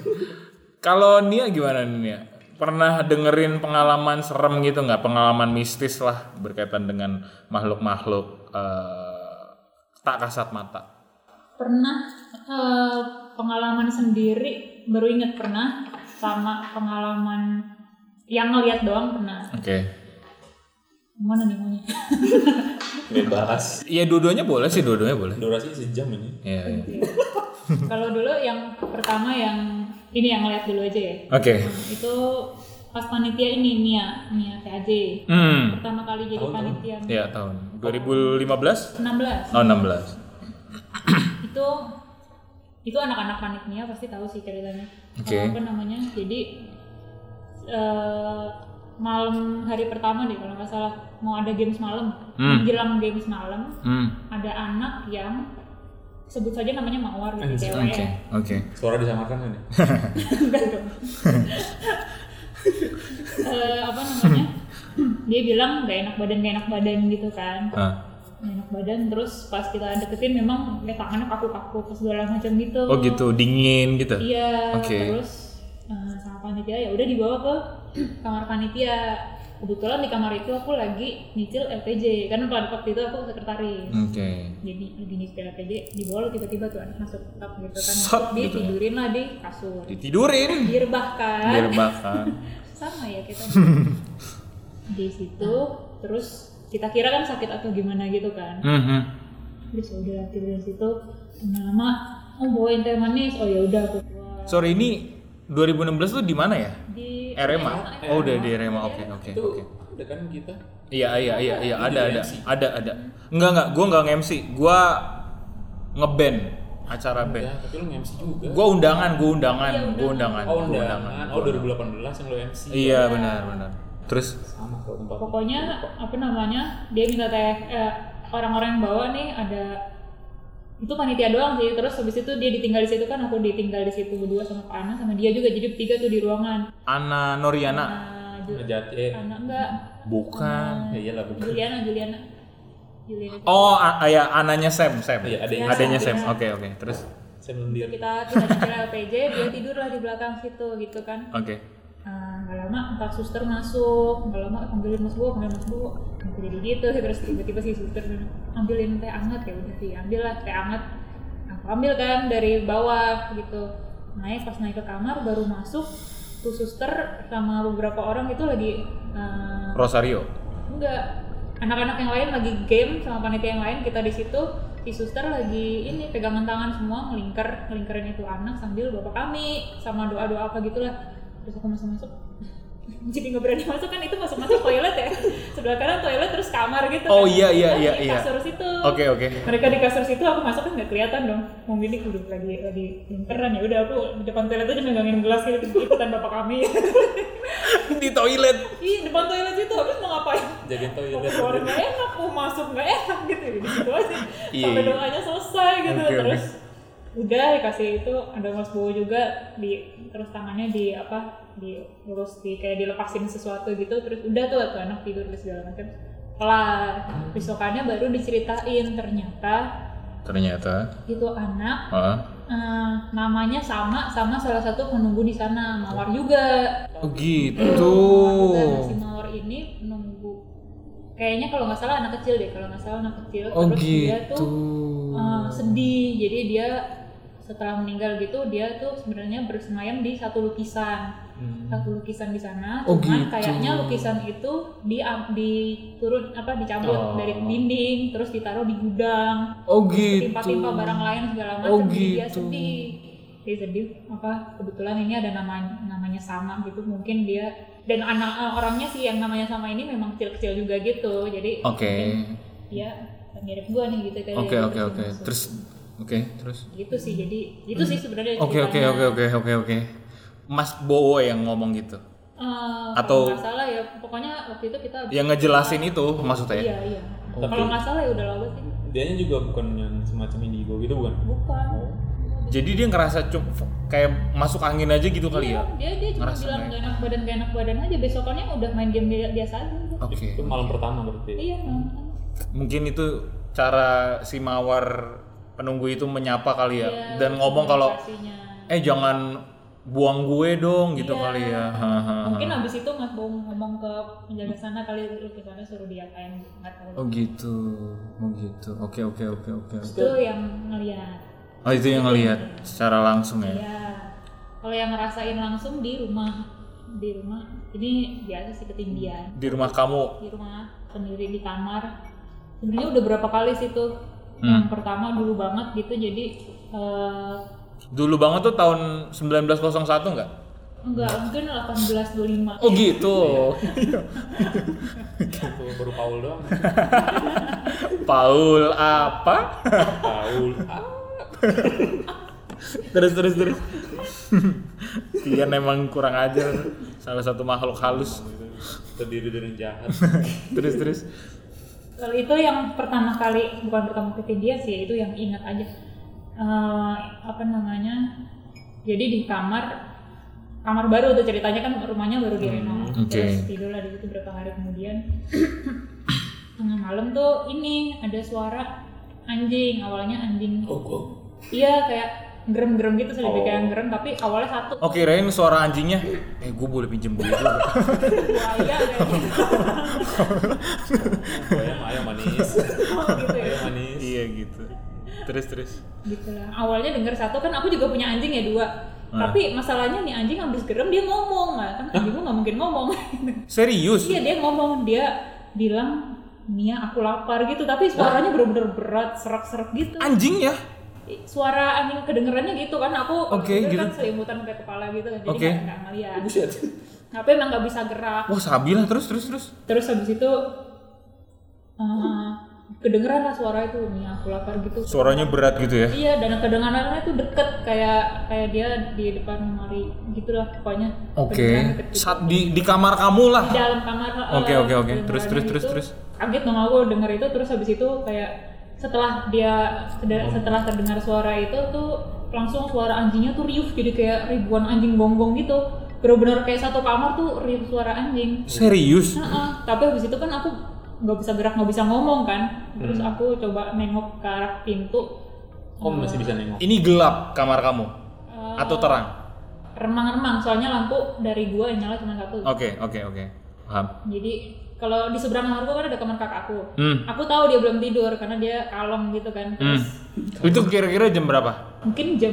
S1: kalau Nia gimana nih Nia pernah dengerin pengalaman serem gitu nggak pengalaman mistis lah berkaitan dengan makhluk-makhluk eh, tak kasat mata
S3: pernah eh, pengalaman sendiri baru inget pernah sama pengalaman yang ngelihat doang pernah
S1: oke
S3: mana nih maunya
S2: bebas
S1: ya dua-duanya boleh sih dua-duanya boleh
S2: durasinya sejam ini
S1: Iya, iya.
S3: kalau dulu yang pertama yang ini yang ngelihat dulu aja ya
S1: oke
S3: itu pas panitia ini Mia Mia TAJ
S1: hmm
S3: pertama kali jadi panitia
S1: ya tahun 2015
S3: 16
S1: oh 16
S3: itu itu anak-anak paniknya pasti tahu sih ceritanya
S1: Oke.
S3: apa namanya jadi eh, malam hari pertama deh kalau nggak salah mau ada games malam
S1: Hmm.
S3: menjelang games malam
S1: hmm
S3: ada anak yang sebut saja namanya mawar
S2: Anjir,
S3: gitu
S1: oke
S3: cewek
S1: oke
S2: suara disamakan kan ya
S3: Enggak dong. Eh, apa namanya dia bilang gak enak badan gak enak badan gitu kan
S1: Ah.
S3: Nggak enak badan terus pas kita deketin memang ya tangannya kaku-kaku terus segala macam gitu
S1: oh gitu dingin gitu
S3: Iya,
S1: Oke.
S3: terus eh, sama panitia ya udah dibawa ke kamar panitia. kebetulan di kamar itu aku lagi nyicil LPJ karena pada kan waktu itu aku sekretaris
S1: Oke.
S3: jadi lagi nyicil LPJ di bawah tiba-tiba tuh anak masuk kap gitu kan
S1: Sot
S3: dia
S1: gitu ya.
S3: tidurin lah di kasur
S1: Ditidurin.
S2: Iya.
S3: direbahkan
S1: Biar bahkan.
S3: sama ya kita di situ terus kita kira kan sakit atau gimana gitu kan
S1: Mhm.
S3: terus ya udah tidur di situ lama oh bawain teh manis oh ya udah aku keluar
S1: Sorry ini 2016 tuh di mana ya?
S3: di
S1: Rema. Oh udah di Rema. Oke oke
S2: itu
S1: oke.
S2: ada kan kita
S1: Iya iya iya iya
S2: Itu
S1: ada
S2: di
S1: ada
S2: MC.
S1: ada ada. Enggak enggak, gua enggak nge-MC. Gua ngeband acara band.
S2: ya tapi lu MC juga
S1: Gua undangan, gua undangan,
S3: Iya,
S1: gua undangan,
S2: oh
S1: gua
S2: undangan oh 2018 yang lu MC
S1: Iya benar benar. Terus
S2: sama kalau tempat
S3: pokoknya apa namanya dia minta teh eh, orang-orang yang bawa nih ada itu panitia doang sih terus habis itu dia ditinggal di situ kan aku ditinggal di situ berdua sama Pak Ana sama dia juga jadi bertiga tuh di ruangan
S1: Ana Noriana
S3: Nah, Ju-
S2: ngejat eh
S3: Ana enggak Nah,
S1: bukan.
S2: ya iyalah bener
S3: Juliana Juliana Juliana
S1: Oh, a- ah, ya ananya Sam, Sam.
S2: Iya, adanya
S1: adanya
S3: Sam.
S1: Sam. Oke, oke. Terus
S2: saya melendir
S3: kita kita nyicil LPJ dia tidur lah di belakang situ gitu kan
S1: oke.
S3: Ah, nggak lama entah suster masuk nggak lama panggilin mas bu panggilin mas bu Nanti jadi gitu terus tiba-tiba si suster bilang, ambilin teh anget ya udah sih ambil lah teh anget aku ambil kan dari bawah gitu naik pas naik ke kamar baru masuk tuh suster sama beberapa orang itu lagi ah,
S1: Rosario.
S3: enggak anak-anak yang lain lagi game sama panitia yang lain kita di situ si suster lagi ini pegangan tangan semua ngelingker ngelingkerin itu anak sambil bapak kami sama doa doa apa gitulah terus aku masuk masuk jadi nggak berani masuk kan itu masuk masuk toilet ya sebelah kanan toilet terus kamar gitu
S1: Oh,
S3: kan.
S1: iya, iya,
S3: Nah,
S1: iya,
S3: di
S1: iya.
S3: kasur situ
S1: Oke, oke.
S3: mereka di kasur situ aku masuk kan nggak kelihatan dong mau gini udah lagi lagi lingkeran ya udah aku di depan toilet aja megangin gelas gitu ikutan bapak kami
S1: Di toilet.
S3: ih depan toilet situ habis mau ngapain
S2: jagain
S3: mau
S2: toilet
S3: keluar nggak enak mau masuk nggak enak gitu di situ aja
S1: Iya,
S3: sampai
S1: iya.
S3: doanya selesai gitu
S1: Oke, oke.
S3: terus udah dikasih itu ada mas bowo juga di terus tangannya di apa di terus di kayak dilepasin sesuatu gitu terus udah tuh tuh anak tidur dan segala macam kelar besokannya baru diceritain ternyata
S1: Ternyata,
S3: itu anak
S1: heeh.
S3: eh, namanya sama sama salah satu penunggu di sana mawar juga
S1: Oh,
S3: Tuh. Nah, Si
S1: gitu.
S3: mawar ini nunggu kayaknya kalau nggak salah anak kecil deh kalau nggak salah anak kecil
S1: Oh,
S3: terus dia
S1: gitu.
S3: tuh eh, sedih jadi dia setelah meninggal gitu dia tuh sebenarnya bersemayam di satu lukisan satu lukisan di sana
S1: Oh, gitu.
S3: cuman kayaknya lukisan itu di diturun apa dicabut
S2: Oh.
S3: dari dinding terus ditaruh di gudang
S1: Oh, gitu.
S3: timpa-timpa barang lain segala macam
S1: Oh,
S3: jadi dia
S1: gitu.
S3: sedih dia sedih apa kebetulan ini ada nama namanya sama gitu mungkin dia dan anak eh, orangnya sih yang namanya sama ini memang kecil-kecil juga gitu jadi
S1: Oke.
S3: dia mirip gua nih gitu kayak
S1: Oh. Oke,
S3: gitu
S1: oke,
S3: sih
S1: oke.
S3: maksud.
S1: Terus oke, terus.
S3: gitu sih jadi itu sih sebenarnya
S1: Oke, oke,
S3: ceritanya.
S1: oke, oke, oke, oke. Mas Bowo yang ngomong gitu.
S3: Eh,
S1: Atau-
S3: kalau nggak salah ya pokoknya waktu itu kita
S1: Yang ngejelasin itu maksudnya.
S3: iya iya
S1: Oke.
S3: kalau nggak salah ya udah lama sih
S2: dianya juga bukan yang semacam indigo gitu bukan
S3: bukan
S1: Jadi dia ngerasa cuk- kayak masuk angin aja gitu kali
S3: Iya,
S1: ya.
S3: dia dia cuma
S1: Ngerasa
S3: bilang
S1: nggak
S3: gak enak badan gak enak badan aja besokannya udah main game bi- biasa aja
S1: Oke.
S2: itu malam pertama berarti
S3: Iya, nonton.
S1: mungkin itu cara si mawar penunggu itu menyapa kali ya
S3: Iya,
S1: dan ngomong kalau
S3: komunikasinya.
S1: eh jangan buang gue dong gitu
S3: Iya.
S1: kali ya Hahaha.
S3: mungkin abis itu Mas Bung ngomong ke penjaga sana kali lukisannya suruh diapain nggak
S1: oh
S3: tahu.
S1: gitu oh gitu oke oke oke oke
S3: Itu yang ngeliat.
S1: oh itu yang ngelihat secara langsung ya
S3: Iya. Kalau yang ngerasain langsung di rumah di rumah ini biasa sih ketinggian
S1: di rumah kamu
S3: di rumah sendiri di kamar sebenarnya udah berapa kali sih tuh
S1: Hmm.
S3: yang pertama dulu banget gitu jadi eh,
S1: dulu banget tuh tahun 1901 nggak
S3: enggak mungkin 1825
S1: oh gitu
S3: Iya.
S2: itu baru Paul doang
S1: Paul apa
S2: Paul ah,
S1: terus terus terus Kian emang kurang ajar salah satu makhluk halus
S2: gitu. terdiri dari jahat
S1: terus terus
S3: Kalau itu yang pertama kali, bukan pertama kali dia sih, itu yang ingat aja. Eh, apa namanya? Jadi di kamar kamar baru tuh ceritanya kan rumahnya baru direnov.
S1: Hmm, oke.
S3: Terus tidurlah di situ berapa hari kemudian. Tengah malam tuh ini ada suara anjing, awalnya anjing.
S2: oh, oh.
S3: Iya kayak gerem-gerem gitu selebih
S2: Oh.
S3: kayak yang gerem tapi awalnya satu
S1: Oh kirain suara anjingnya. Eh gue boleh pinjem bulu dulu.
S3: buaya kayaknya
S2: Buaya mah ayam manis.
S3: Oh, gitu ya
S2: Ayam manis.
S1: iya gitu. Terus terus.
S3: gitu lah awalnya denger satu kan aku juga punya anjing ya dua
S1: Ah.
S3: tapi masalahnya nih anjing habis gerem dia ngomong lah kan anjing gua nggak mungkin ngomong
S1: Serius?
S3: iya dia ngomong dia bilang Nia aku lapar gitu tapi suaranya bener-bener berat serak-serak gitu
S1: Anjingnya?
S3: I- suara anjing kedengerannya gitu kan
S1: Oke,
S3: aku waktu itu
S1: gitu.
S3: kan selimutan sampai kepala gitu kan jadi
S1: Oke. Oh,
S3: nggak- nggak ngeliat
S2: Buset.
S3: tapi emang nggak bisa gerak
S1: Wah sabi lah terus terus terus.
S3: terus habis itu eh, kedengeran lah suara itu nih aku lapar gitu
S1: Suaranya berat gitu ya?
S3: iya dan kedengarannya tuh deket kayak kayak dia di depan lemari gitulah pokoknya Kedengeran
S1: Oke.
S3: deket gitu.
S1: Saat di di kamar kamu lah.
S3: di dalam kamar
S1: Oke, oke,
S3: eh,
S1: oke. Terus,
S3: kedengarannya
S1: terus, terus,
S3: gitu.
S1: terus.
S3: kaget dong aku denger itu terus habis itu kayak setelah dia
S1: Oh.
S3: seda- setelah terdengar suara itu tuh langsung suara anjingnya tuh riuh jadi kayak ribuan anjing gonggong gitu bener-bener kayak satu kamar tuh riuh suara anjing
S1: Serius?
S3: Heeh, tapi habis itu kan aku nggak bisa gerak nggak bisa ngomong kan terus
S1: Hmm.
S3: aku coba nengok ke arah pintu
S2: Kok masih bisa nengok?
S1: Ini gelap kamar kamu
S3: Eh,
S1: atau terang?
S3: remang-remang soalnya lampu dari gua yang nyala cuma satu
S1: Oke oke oke. Paham.
S3: jadi kalau di seberang kamar gua kan ada kamar kakakku
S1: Hmm.
S3: aku tahu dia belum tidur karena dia kalem gitu kan
S1: Hmm.
S3: terus
S1: Itu kira-kira jam berapa?
S3: mungkin jam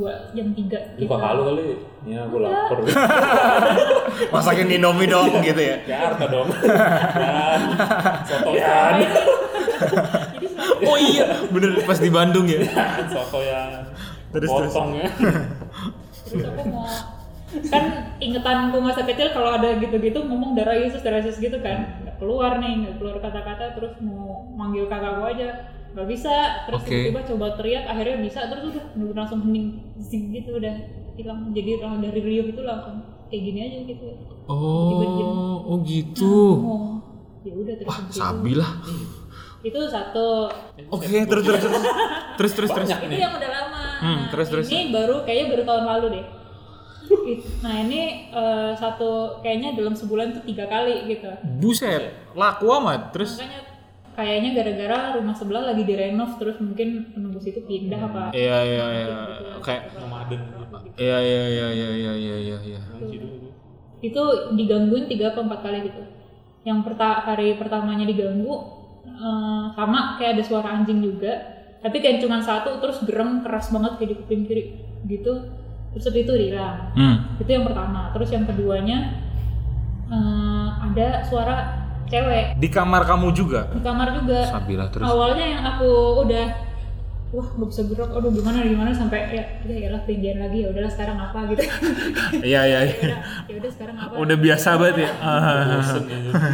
S3: 2, jam 3 gitu
S2: Buka halu kali. Ya, gue lapar.
S1: Masakin Indomie dong gitu ya.
S2: Jakarta dong. Dan sotoyan.
S3: Nah, ini- jadi selama-
S1: Oh iya, bener pas di Bandung ya.
S2: Sotoyan.
S1: Terus, terus.
S2: Potong ya.
S3: terus aku mau kan ingetanku masa kecil kalau ada gitu-gitu ngomong darah Yesus darah Yesus gitu kan nggak keluar nih nggak keluar kata-kata terus mau manggil kakakku aja nggak bisa terus
S1: Oke.
S3: tiba-tiba coba teriak akhirnya bisa terus udah bener-bener langsung hening zing gitu udah hilang jadi langsung dari Rio itu langsung kayak gini aja gitu
S1: Oh, oh gitu.
S3: oh ya udah terus habis itu.
S1: Sabi lah.
S3: itu satu
S1: Oke, terus terus terus. Terus terus terus.
S2: Banyak
S3: itu
S2: nih.
S3: yang udah lama
S1: Hmm,
S3: Nah,
S1: terus, terus.
S3: ini baru kayaknya baru tahun lalu deh It- nah ini eh, satu kayaknya dalam sebulan tuh tiga kali gitu
S1: Buset, laku amat. Terus
S3: makanya kayaknya gara-gara rumah sebelah lagi direnov terus mungkin menunggu situ pindah apa
S1: Iya iya iya kayak
S2: Nomaden gitu.
S1: iya iya iya iya iya iya iya iya.
S2: Kunci dulu.
S3: itu digangguin tiga apa empat kali gitu yang perta hari pertamanya diganggu eh, sama kayak ada suara anjing juga tapi kayak cuma satu terus gerem keras banget kayak di kuping kiri gitu terus habis itu hilang
S1: Hmm.
S3: itu yang pertama terus yang keduanya eh, ada suara cewek
S1: Di kamar kamu juga.
S3: di kamar juga
S1: Sabilah terus.
S3: awalnya yang aku udah wah nggak bisa gerak aduh gimana gimana sampai ya ya iyalah ketinggian lagi ya udahlah sekarang apa gitu
S1: Iya iya.
S3: ya
S1: iya.
S3: udah, ya udah sekarang apa
S1: Udah biasa banget ya.
S2: Bosen ya.
S3: Iya.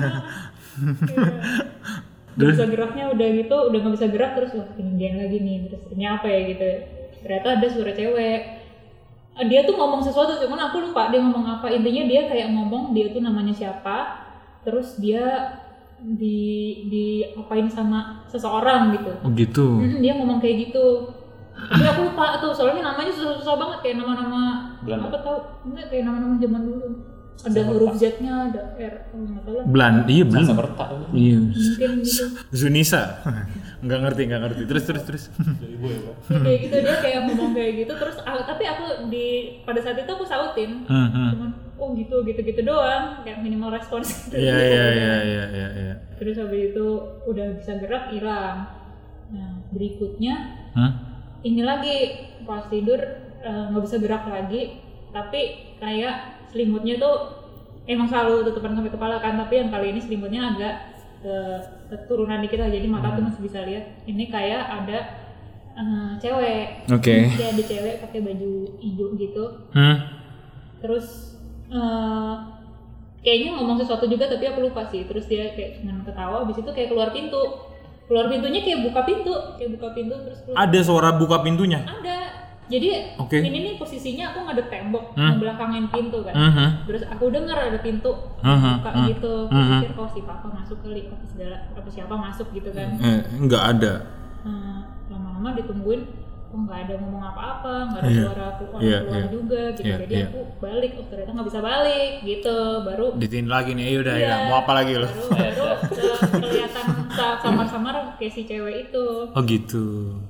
S3: Nggak bisa geraknya udah gitu udah nggak bisa gerak terus wah ketinggian lagi nih terus ini apa ya gitu ternyata ada suara cewek Eh, dia tuh ngomong sesuatu cuman aku lupa dia ngomong apa intinya dia kayak ngomong dia tuh namanya siapa terus dia di di apain sama seseorang gitu
S1: Oh gitu.
S3: Mm, dia ngomong kayak gitu tapi aku lupa tuh soalnya namanya susah-susah banget kayak nama-nama
S2: Belanda.
S3: apa tau enggak kayak nama-nama zaman dulu ada huruf Z-nya ada R oh, nggak tahu lah
S1: Belan, iya belum.
S2: Masa bertak.
S1: Iya.
S3: mungkin gitu
S1: Zunisa. Enggak ngerti, enggak ngerti. Terus terus terus.
S2: Dari gue ya, Pak.
S3: Ya, kayak gitu dia kayak ngomong kayak gitu terus ah, tapi aku di pada saat itu aku sautin
S1: Hmm, hmm.
S3: cuman oh gitu gitu gitu doang kayak minimal respons gitu.
S1: Iya iya iya iya iya iya.
S3: terus habis itu udah bisa gerak hilang nah berikutnya
S1: Hah?
S3: ini lagi pas tidur eh, nggak bisa gerak lagi tapi kayak selimutnya tuh emang selalu tutupan sampai kepala kan tapi yang kali ini selimutnya agak eh, keturunan dikit lah jadi mata tuh
S1: Hmm.
S3: masih bisa lihat ini kayak ada eh, cewek
S1: Oke.
S3: Kayak ada cewek pakai baju hijau gitu
S1: Hmm.
S3: terus eh, kayaknya ngomong sesuatu juga tapi aku lupa sih terus dia kayak dengan ketawa habis itu kayak keluar pintu keluar pintunya kayak buka pintu kayak buka pintu terus keluar
S1: Ada suara buka pintunya.
S3: ada jadi
S1: Oke.
S3: ini nih posisinya aku ngadep tembok
S1: Hmm.
S3: ngebelakangin pintu kan
S1: Heeh.
S3: terus aku dengar ada pintu
S1: Heeh.
S3: buka gitu aku
S1: Hmm.
S3: pikir oh si papa masuk kali apa segala apa siapa masuk gitu kan
S1: Eh, enggak ada.
S3: Nah, lama-lama ditungguin kok nggak ada ngomong apa-apa nggak ada
S1: Iya.
S3: suara keluar,
S1: Iya,
S3: keluar
S1: iya.
S3: juga gitu
S1: Iya,
S3: jadi
S1: iya.
S3: aku balik oh ternyata nggak bisa balik gitu baru
S1: Ditin lagi nih, ayo udah
S3: Iya.
S1: ya. Mau apa lagi lo?
S3: baru baru ke- kelihatan sa- samar-samar kayak si cewek itu
S1: Oh gitu.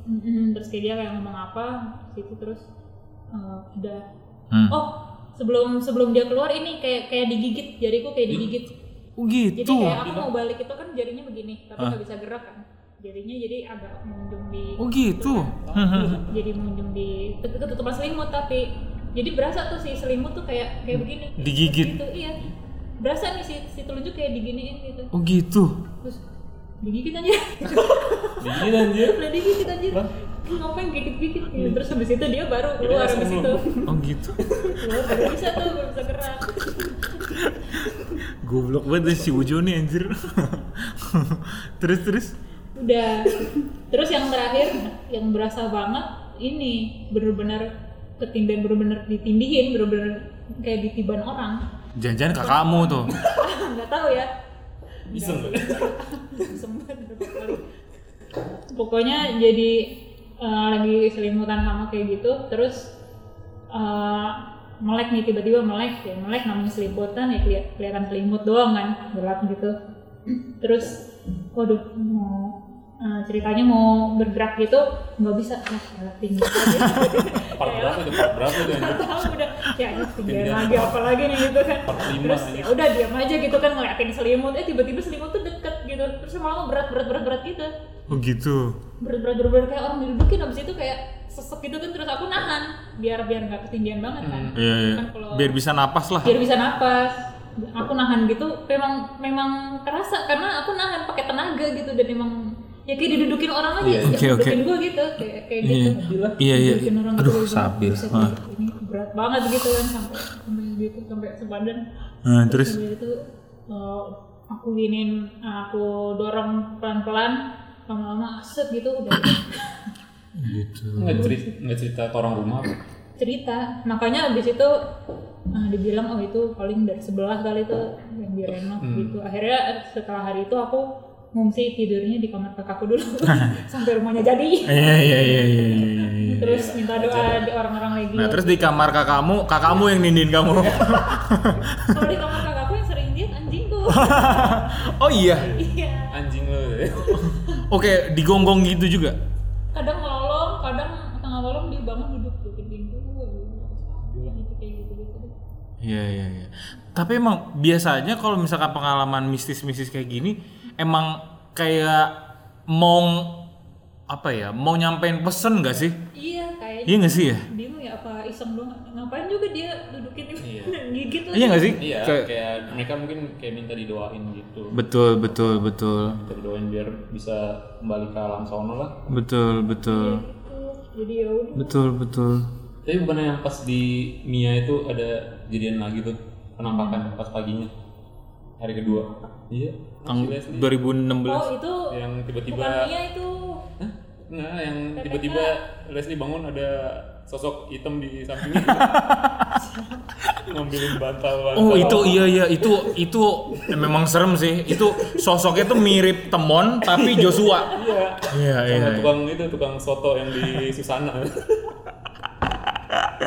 S3: Mm-mm, terus kayak dia kayak ngomong apa situ terus eh, udah
S1: Hmm.
S3: oh sebelum sebelum dia keluar ini kayak kayak digigit jariku kayak digigit
S1: Oh
S3: jadi
S1: gitu.
S3: kayak aku mau balik itu kan jarinya begini tapi nggak bisa gerak kan jarinya jadi agak menunjung di
S1: Oh gitu. Hmm.
S3: jadi menunjuk di tet- ketutupan selimut tapi jadi berasa tuh si selimut tuh kayak kayak begini
S1: Hmm. Digigit.
S3: gitu iya berasa nih si, si telunjuk kayak diginiin gitu
S1: Oh gitu.
S3: terus digigit anjir
S2: Jadi anjir.
S3: udah digigit anjir Lu ngapain gigit-gigit gitu. terus habis itu dia baru keluar habis itu
S1: Oh gitu.
S3: keluar baru bisa tuh baru bisa gerak
S1: Goblok banget deh si Ujo nih anjir. terus terus.
S3: udah terus yang terakhir yang berasa banget ini bener-bener ketindihan bener-bener ditindihin bener-bener kayak ditiban orang
S1: Jangan-jangan kakakmu tuh.
S3: nggak tahu ya
S2: Bisa nggak?
S3: Sempet berapa kali. pokoknya jadi eh, lagi selimutan sama kayak gitu terus eh, melek nih tiba-tiba melek ya melek namanya selimutan ya keli- kelihatan selimut doang kan gelap gitu terus waduh mau eh, ceritanya mau bergerak gitu nggak bisa ah ya tinggi lagi
S2: Part berapa itu? Part berapa itu anjir?
S3: tahu udah ya ini tinggal lagi apa lagi nih gitu kan
S2: Part lima,
S3: terus
S2: anjir.
S3: ya udah diam aja gitu kan ngeliatin selimut eh tiba-tiba selimut tuh deket gitu terus lama-lama berat berat berat berat gitu
S1: Oh gitu.
S3: berat berat berat, berat kayak orang didudukin abis itu kayak sesek gitu kan terus aku nahan biar biar nggak ketindihan banget kan
S1: Iya, iya.
S3: Kan kalau-
S1: Biar bisa napas lah.
S3: biar bisa napas aku nahan gitu memang memang terasa karena aku nahan pakai tenaga gitu dan memang ya kayak didudukin orang aja
S1: Iya, Oke, oke.
S3: yang dudukin gue gitu kayak kayak
S1: Iya.
S3: gitu
S1: Iya, iya.
S3: Bikin orang
S1: Aduh,
S3: tuh
S1: sabil.
S3: bisa
S1: Ah.
S3: kayak ini berat banget gitu kan sampai sampai gitu sampai sebadan
S1: Nah, terus
S3: Sampai itu uh, aku giniin uh, aku dorong pelan-pelan lama-lama set gitu udah
S1: gitu.
S2: Nggak cerita, nggak cerita ke orang rumah apa?
S3: cerita makanya abis itu uh, dibilang oh itu paling dari sebelah kali itu yang direnov
S1: Hmm.
S3: gitu akhirnya setelah hari itu aku ngungsi tidurnya di kamar kakakku dulu sampai rumahnya jadi
S1: Iya, iya, iya, iya, iya, iya, iya.
S3: terus minta doa di orang-orang lagi
S1: Nah, terus di kamar kakakmu, kakakmu yang nindiin kamu.
S3: kalau di kamar kakakku yang sering dia anjingku
S1: oh iya.
S3: iya
S2: Anjing lu.
S1: Oke, digonggong gitu juga.
S3: kadang melolong kadang tengah malam dia bangun duduk di pintu gitu kayak gitu gitu
S1: Iya, iya, iya. Tapi emang biasanya kalau misalkan pengalaman mistis-mistis kayak gini, emang kayak mau apa ya, mau nyampein pesen gak sih?
S3: iya kayaknya
S1: Iya gak sih ya?
S3: bingung ya apa iseng doang ngapain juga dia dudukin
S2: Iya.
S3: gigit lagi
S1: Iya gak sih?
S2: Iya,
S1: Kayak-
S2: kayak mereka mungkin kayak minta didoain gitu.
S1: Betul, betul, betul.
S2: Minta didoain biar bisa kembali ke alam sono lah.
S1: Betul, betul.
S3: Gitu. jadi ya udah
S1: Betul, betul.
S2: Tapi bukannya yang pas di Mia itu ada jadian lagi tuh penampakan pas paginya hari kedua. Iya.
S1: Tahun
S2: si Leslie.
S1: 2016.
S3: oh itu
S2: Yang tiba-tiba
S3: bukan Mia itu
S1: Eh.
S2: Hah? Nah, yang tiba-tiba Leslie bangun ada sosok hitam di sampingnya. Ngambilin bantal-bantal.
S1: Oh itu iya iya itu itu memang serem sih. Itu sosoknya tuh mirip Temon tapi Joshua.
S2: Iya.
S1: Iya
S2: Sama
S1: iya.
S2: tukang itu tukang soto yang di Susana.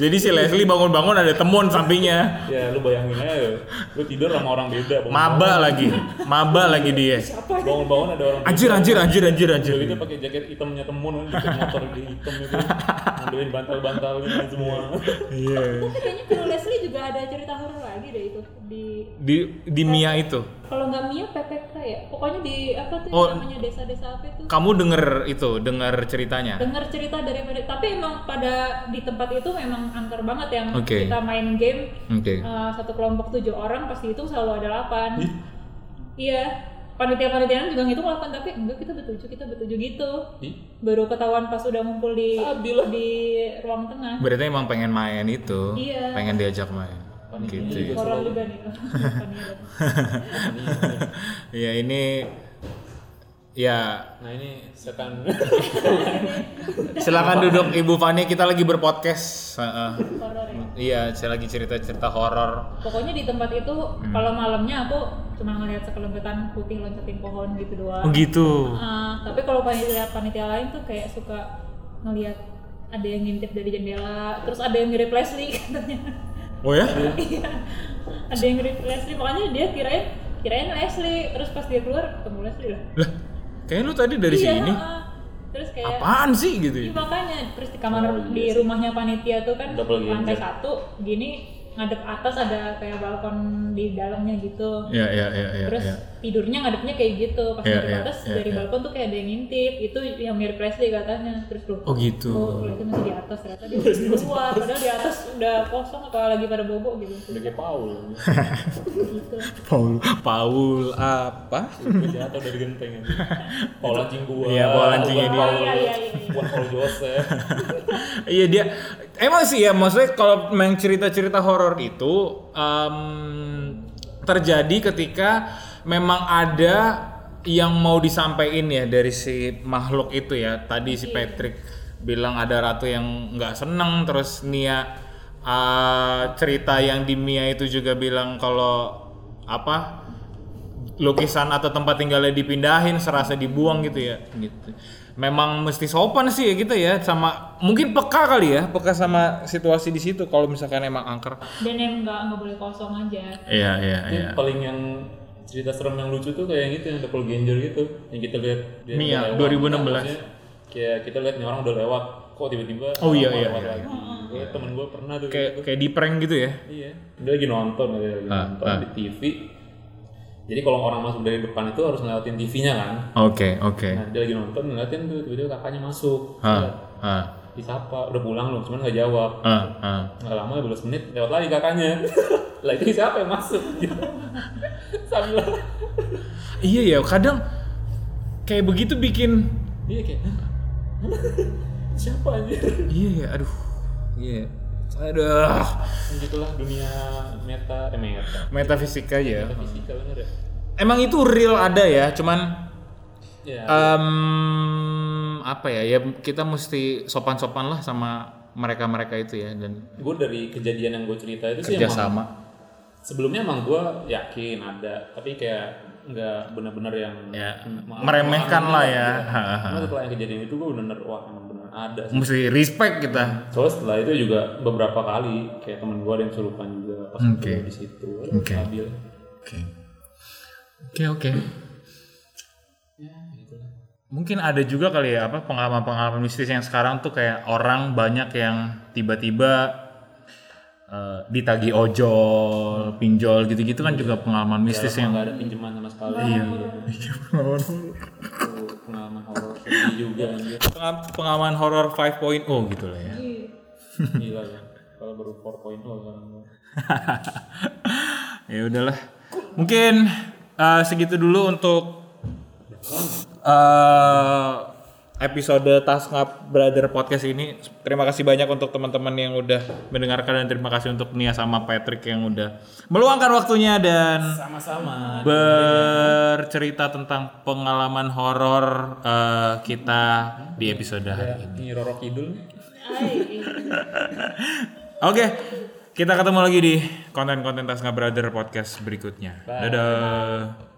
S1: Jadi si Leslie bangun-bangun ada Temon sampingnya.
S2: ya, lu bayangin aja. Lu tidur sama orang beda.
S1: Maba lagi, maba lagi dia.
S2: Bangun-bangun ada orang beda.
S1: Anjir anjir anjir anjir anjir.
S2: Jadi itu pakai jaket hitamnya temun, kan, jaket motor di hitam itu, ngambilin bantal-bantalnya semua.
S1: Iya.
S3: tapi kayaknya Vero Leslie juga ada cerita horor lagi deh itu di
S1: Di di Mia itu.
S3: kalau nggak Mia PPK ya pokoknya di apa tuh
S1: Oh.
S3: yang namanya desa-desa apa itu
S1: Kamu denger itu, denger ceritanya.
S3: dengar cerita dari tapi emang pada di tempat itu memang angker banget yang
S1: Oke.
S3: kita main game
S1: Oke.
S3: Eh, satu kelompok tujuh orang pasti itu selalu ada 8 iya panitia panitiaan juga ngitung 8 tapi enggak kita bertujuh kita bertujuh gitu
S2: Ih,
S3: baru ketahuan pas udah ngumpul di di ruang tengah
S1: Berarti emang pengen main itu.
S3: Iya.
S1: Pengen diajak main. Gitu. ya.
S3: horor juga nih Panitia.
S1: Ya ini ya
S2: Nah ini setan.
S1: silakan duduk Ibu Fani kita lagi berpodcast. Heeh.
S3: horor ya
S1: Iya, saya lagi cerita-cerita horor.
S3: pokoknya di tempat itu kalau malamnya aku cuma ngelihat sekelembetan putih loncatin pohon gitu doang
S1: gitu.
S3: Ah, tapi kalau panitia panitia lain tuh kayak suka ngelihat ada yang ngintip dari jendela, terus ada yang mirip Leslie katanya.
S1: Oh ya?
S3: Iya. ada yang mirip Leslie, makanya dia kirain kirain Leslie terus pas dia keluar ketemu Leslie lah
S1: Lah, kayaknya lu tadi dari
S3: Iya,
S1: sini.
S3: heeh. terus kayak
S1: Apaan sih gitu ya?
S3: Iya makanya terus di kamar di rumahnya panitia tuh kan
S2: Double game,
S3: lantai
S2: ya.
S3: satu gini ngadep atas ada kayak balkon di dalamnya gitu.
S1: Ya ya ya ya.
S3: terus
S1: ya.
S3: tidurnya ngadepnya kayak gitu pas
S1: Iya,
S3: ngadep
S1: iya,
S3: atas
S1: iya,
S3: dari
S1: iya.
S3: balkon tuh kayak ada yang ngintip itu yang mirip Leslie katanya terus lu
S1: Oh gitu. Iya,
S3: Oh, Leslie masih di atas ternyata dia udah di luar padahal di atas udah kosong atau lagi pada bobo gitu.
S2: Udah kayak Paul.
S3: gitu.
S1: Paul Paul apa?
S2: Udah jatuh dari genteng. aja. Paul anjing gua.
S1: Iya, Paul anjingnya
S3: dia.
S2: Paul-
S3: Iya, iya, iya, iya.
S2: Gua Paul Joseph.
S1: Iya dia emang sih ya maksudnya kalau main cerita-cerita horor itu em, terjadi ketika memang ada yang mau disampaikan ya dari si makhluk itu ya tadi si Patrick bilang ada ratu yang nggak seneng terus Nia eh, cerita yang di Mia itu juga bilang kalau apa lukisan atau tempat tinggalnya dipindahin serasa dibuang gitu ya gitu memang mesti sopan sih ya gitu ya sama mungkin peka kali ya peka sama situasi di situ kalau misalkan emang angker
S3: Dan yang nggak nggak boleh kosong aja.
S1: iya iya
S2: Yang Paling yang cerita serem yang lucu tuh kayak yang itu yang doppelganger gitu yang kita lihat dia
S1: Mia,
S2: udah
S1: 2016.
S2: lewat. Maksudnya, kayak kita lihat nih orang udah lewat kok tiba-tiba
S1: Oh, iya,
S2: orang
S1: iya,
S2: lewat
S1: iya.
S2: lagi. Kayak temen gue pernah tuh
S1: kayak kayak di prank gitu ya
S2: Iya, dia lagi nonton, dia lagi
S1: Ah,
S2: nonton
S1: ah.
S2: di TV. Jadi kalau orang masuk dari depan itu harus ngeliatin TV-nya kan.
S1: oke oke
S2: Nah, dia lagi nonton ngeliatin tuh tiba-tiba kakaknya masuk.
S1: ah
S2: Disapa, udah pulang loh, cuman nggak jawab.
S1: ah ah
S2: Nggak lama 15 menit lewat lagi kakaknya. lah itu siapa yang masuk? Gitu. Sambil
S1: iya ya kadang kayak begitu bikin
S2: iya kayak "Hah? siapa anjir?
S1: iya ya aduh iya aduh
S2: Begitulah Kan dunia meta, eh meta.
S1: metafisika ya
S2: Fisika bener ya?
S1: emang itu real ada ya cuman
S2: Ya,
S1: Em, apa ya ya kita mesti sopan-sopan lah sama mereka-mereka itu ya dan
S2: gue dari kejadian yang gue cerita itu sih emang
S1: kerjasama
S2: sebelumnya emang gue yakin ada tapi kayak nggak benar-benar yang
S1: Ya,
S2: Maaf,
S1: meremehkan
S2: maaf,
S1: lah
S2: maaf,
S1: ya.
S2: maaf.
S1: Ha, ha, ha.
S2: Cuma setelah yang kejadian itu gue benar-benar wah emang benar ada sih.
S1: mesti respect kita
S2: Soalnya setelah itu juga beberapa kali kayak temen gue ada yang surupan juga pas
S1: Oke.
S2: gue di situ
S1: Oke.
S2: stabil
S1: oke oke oke Ya, mungkin ada juga kali ya apa pengalaman-pengalaman mistis yang sekarang tuh kayak orang banyak yang tiba-tiba eh, ditagi ojol pinjol gitu-gitu kan juga pengalaman mistis yang
S2: yang nggak ada pinjaman sama sekali iya pengalaman horor sedih juga anjir
S1: Pengal- pengalaman horor 5.0 gitu lah ya
S2: gila ya kalau baru 4.0 sekarang
S1: ya udahlah mungkin eh, segitu dulu untuk eh, episode Tasngap Brother Podcast ini terima kasih banyak untuk teman-teman yang udah mendengarkan dan terima kasih untuk Nia sama Patrick yang udah meluangkan waktunya dan
S2: sama-sama
S1: bercerita tentang pengalaman horor eh, kita di episode hari ini.
S2: ini Roro Kidul
S1: Iya.
S3: Ay,
S1: Oke, kita ketemu lagi di konten-konten Tasngap Brother Podcast berikutnya. Dadah.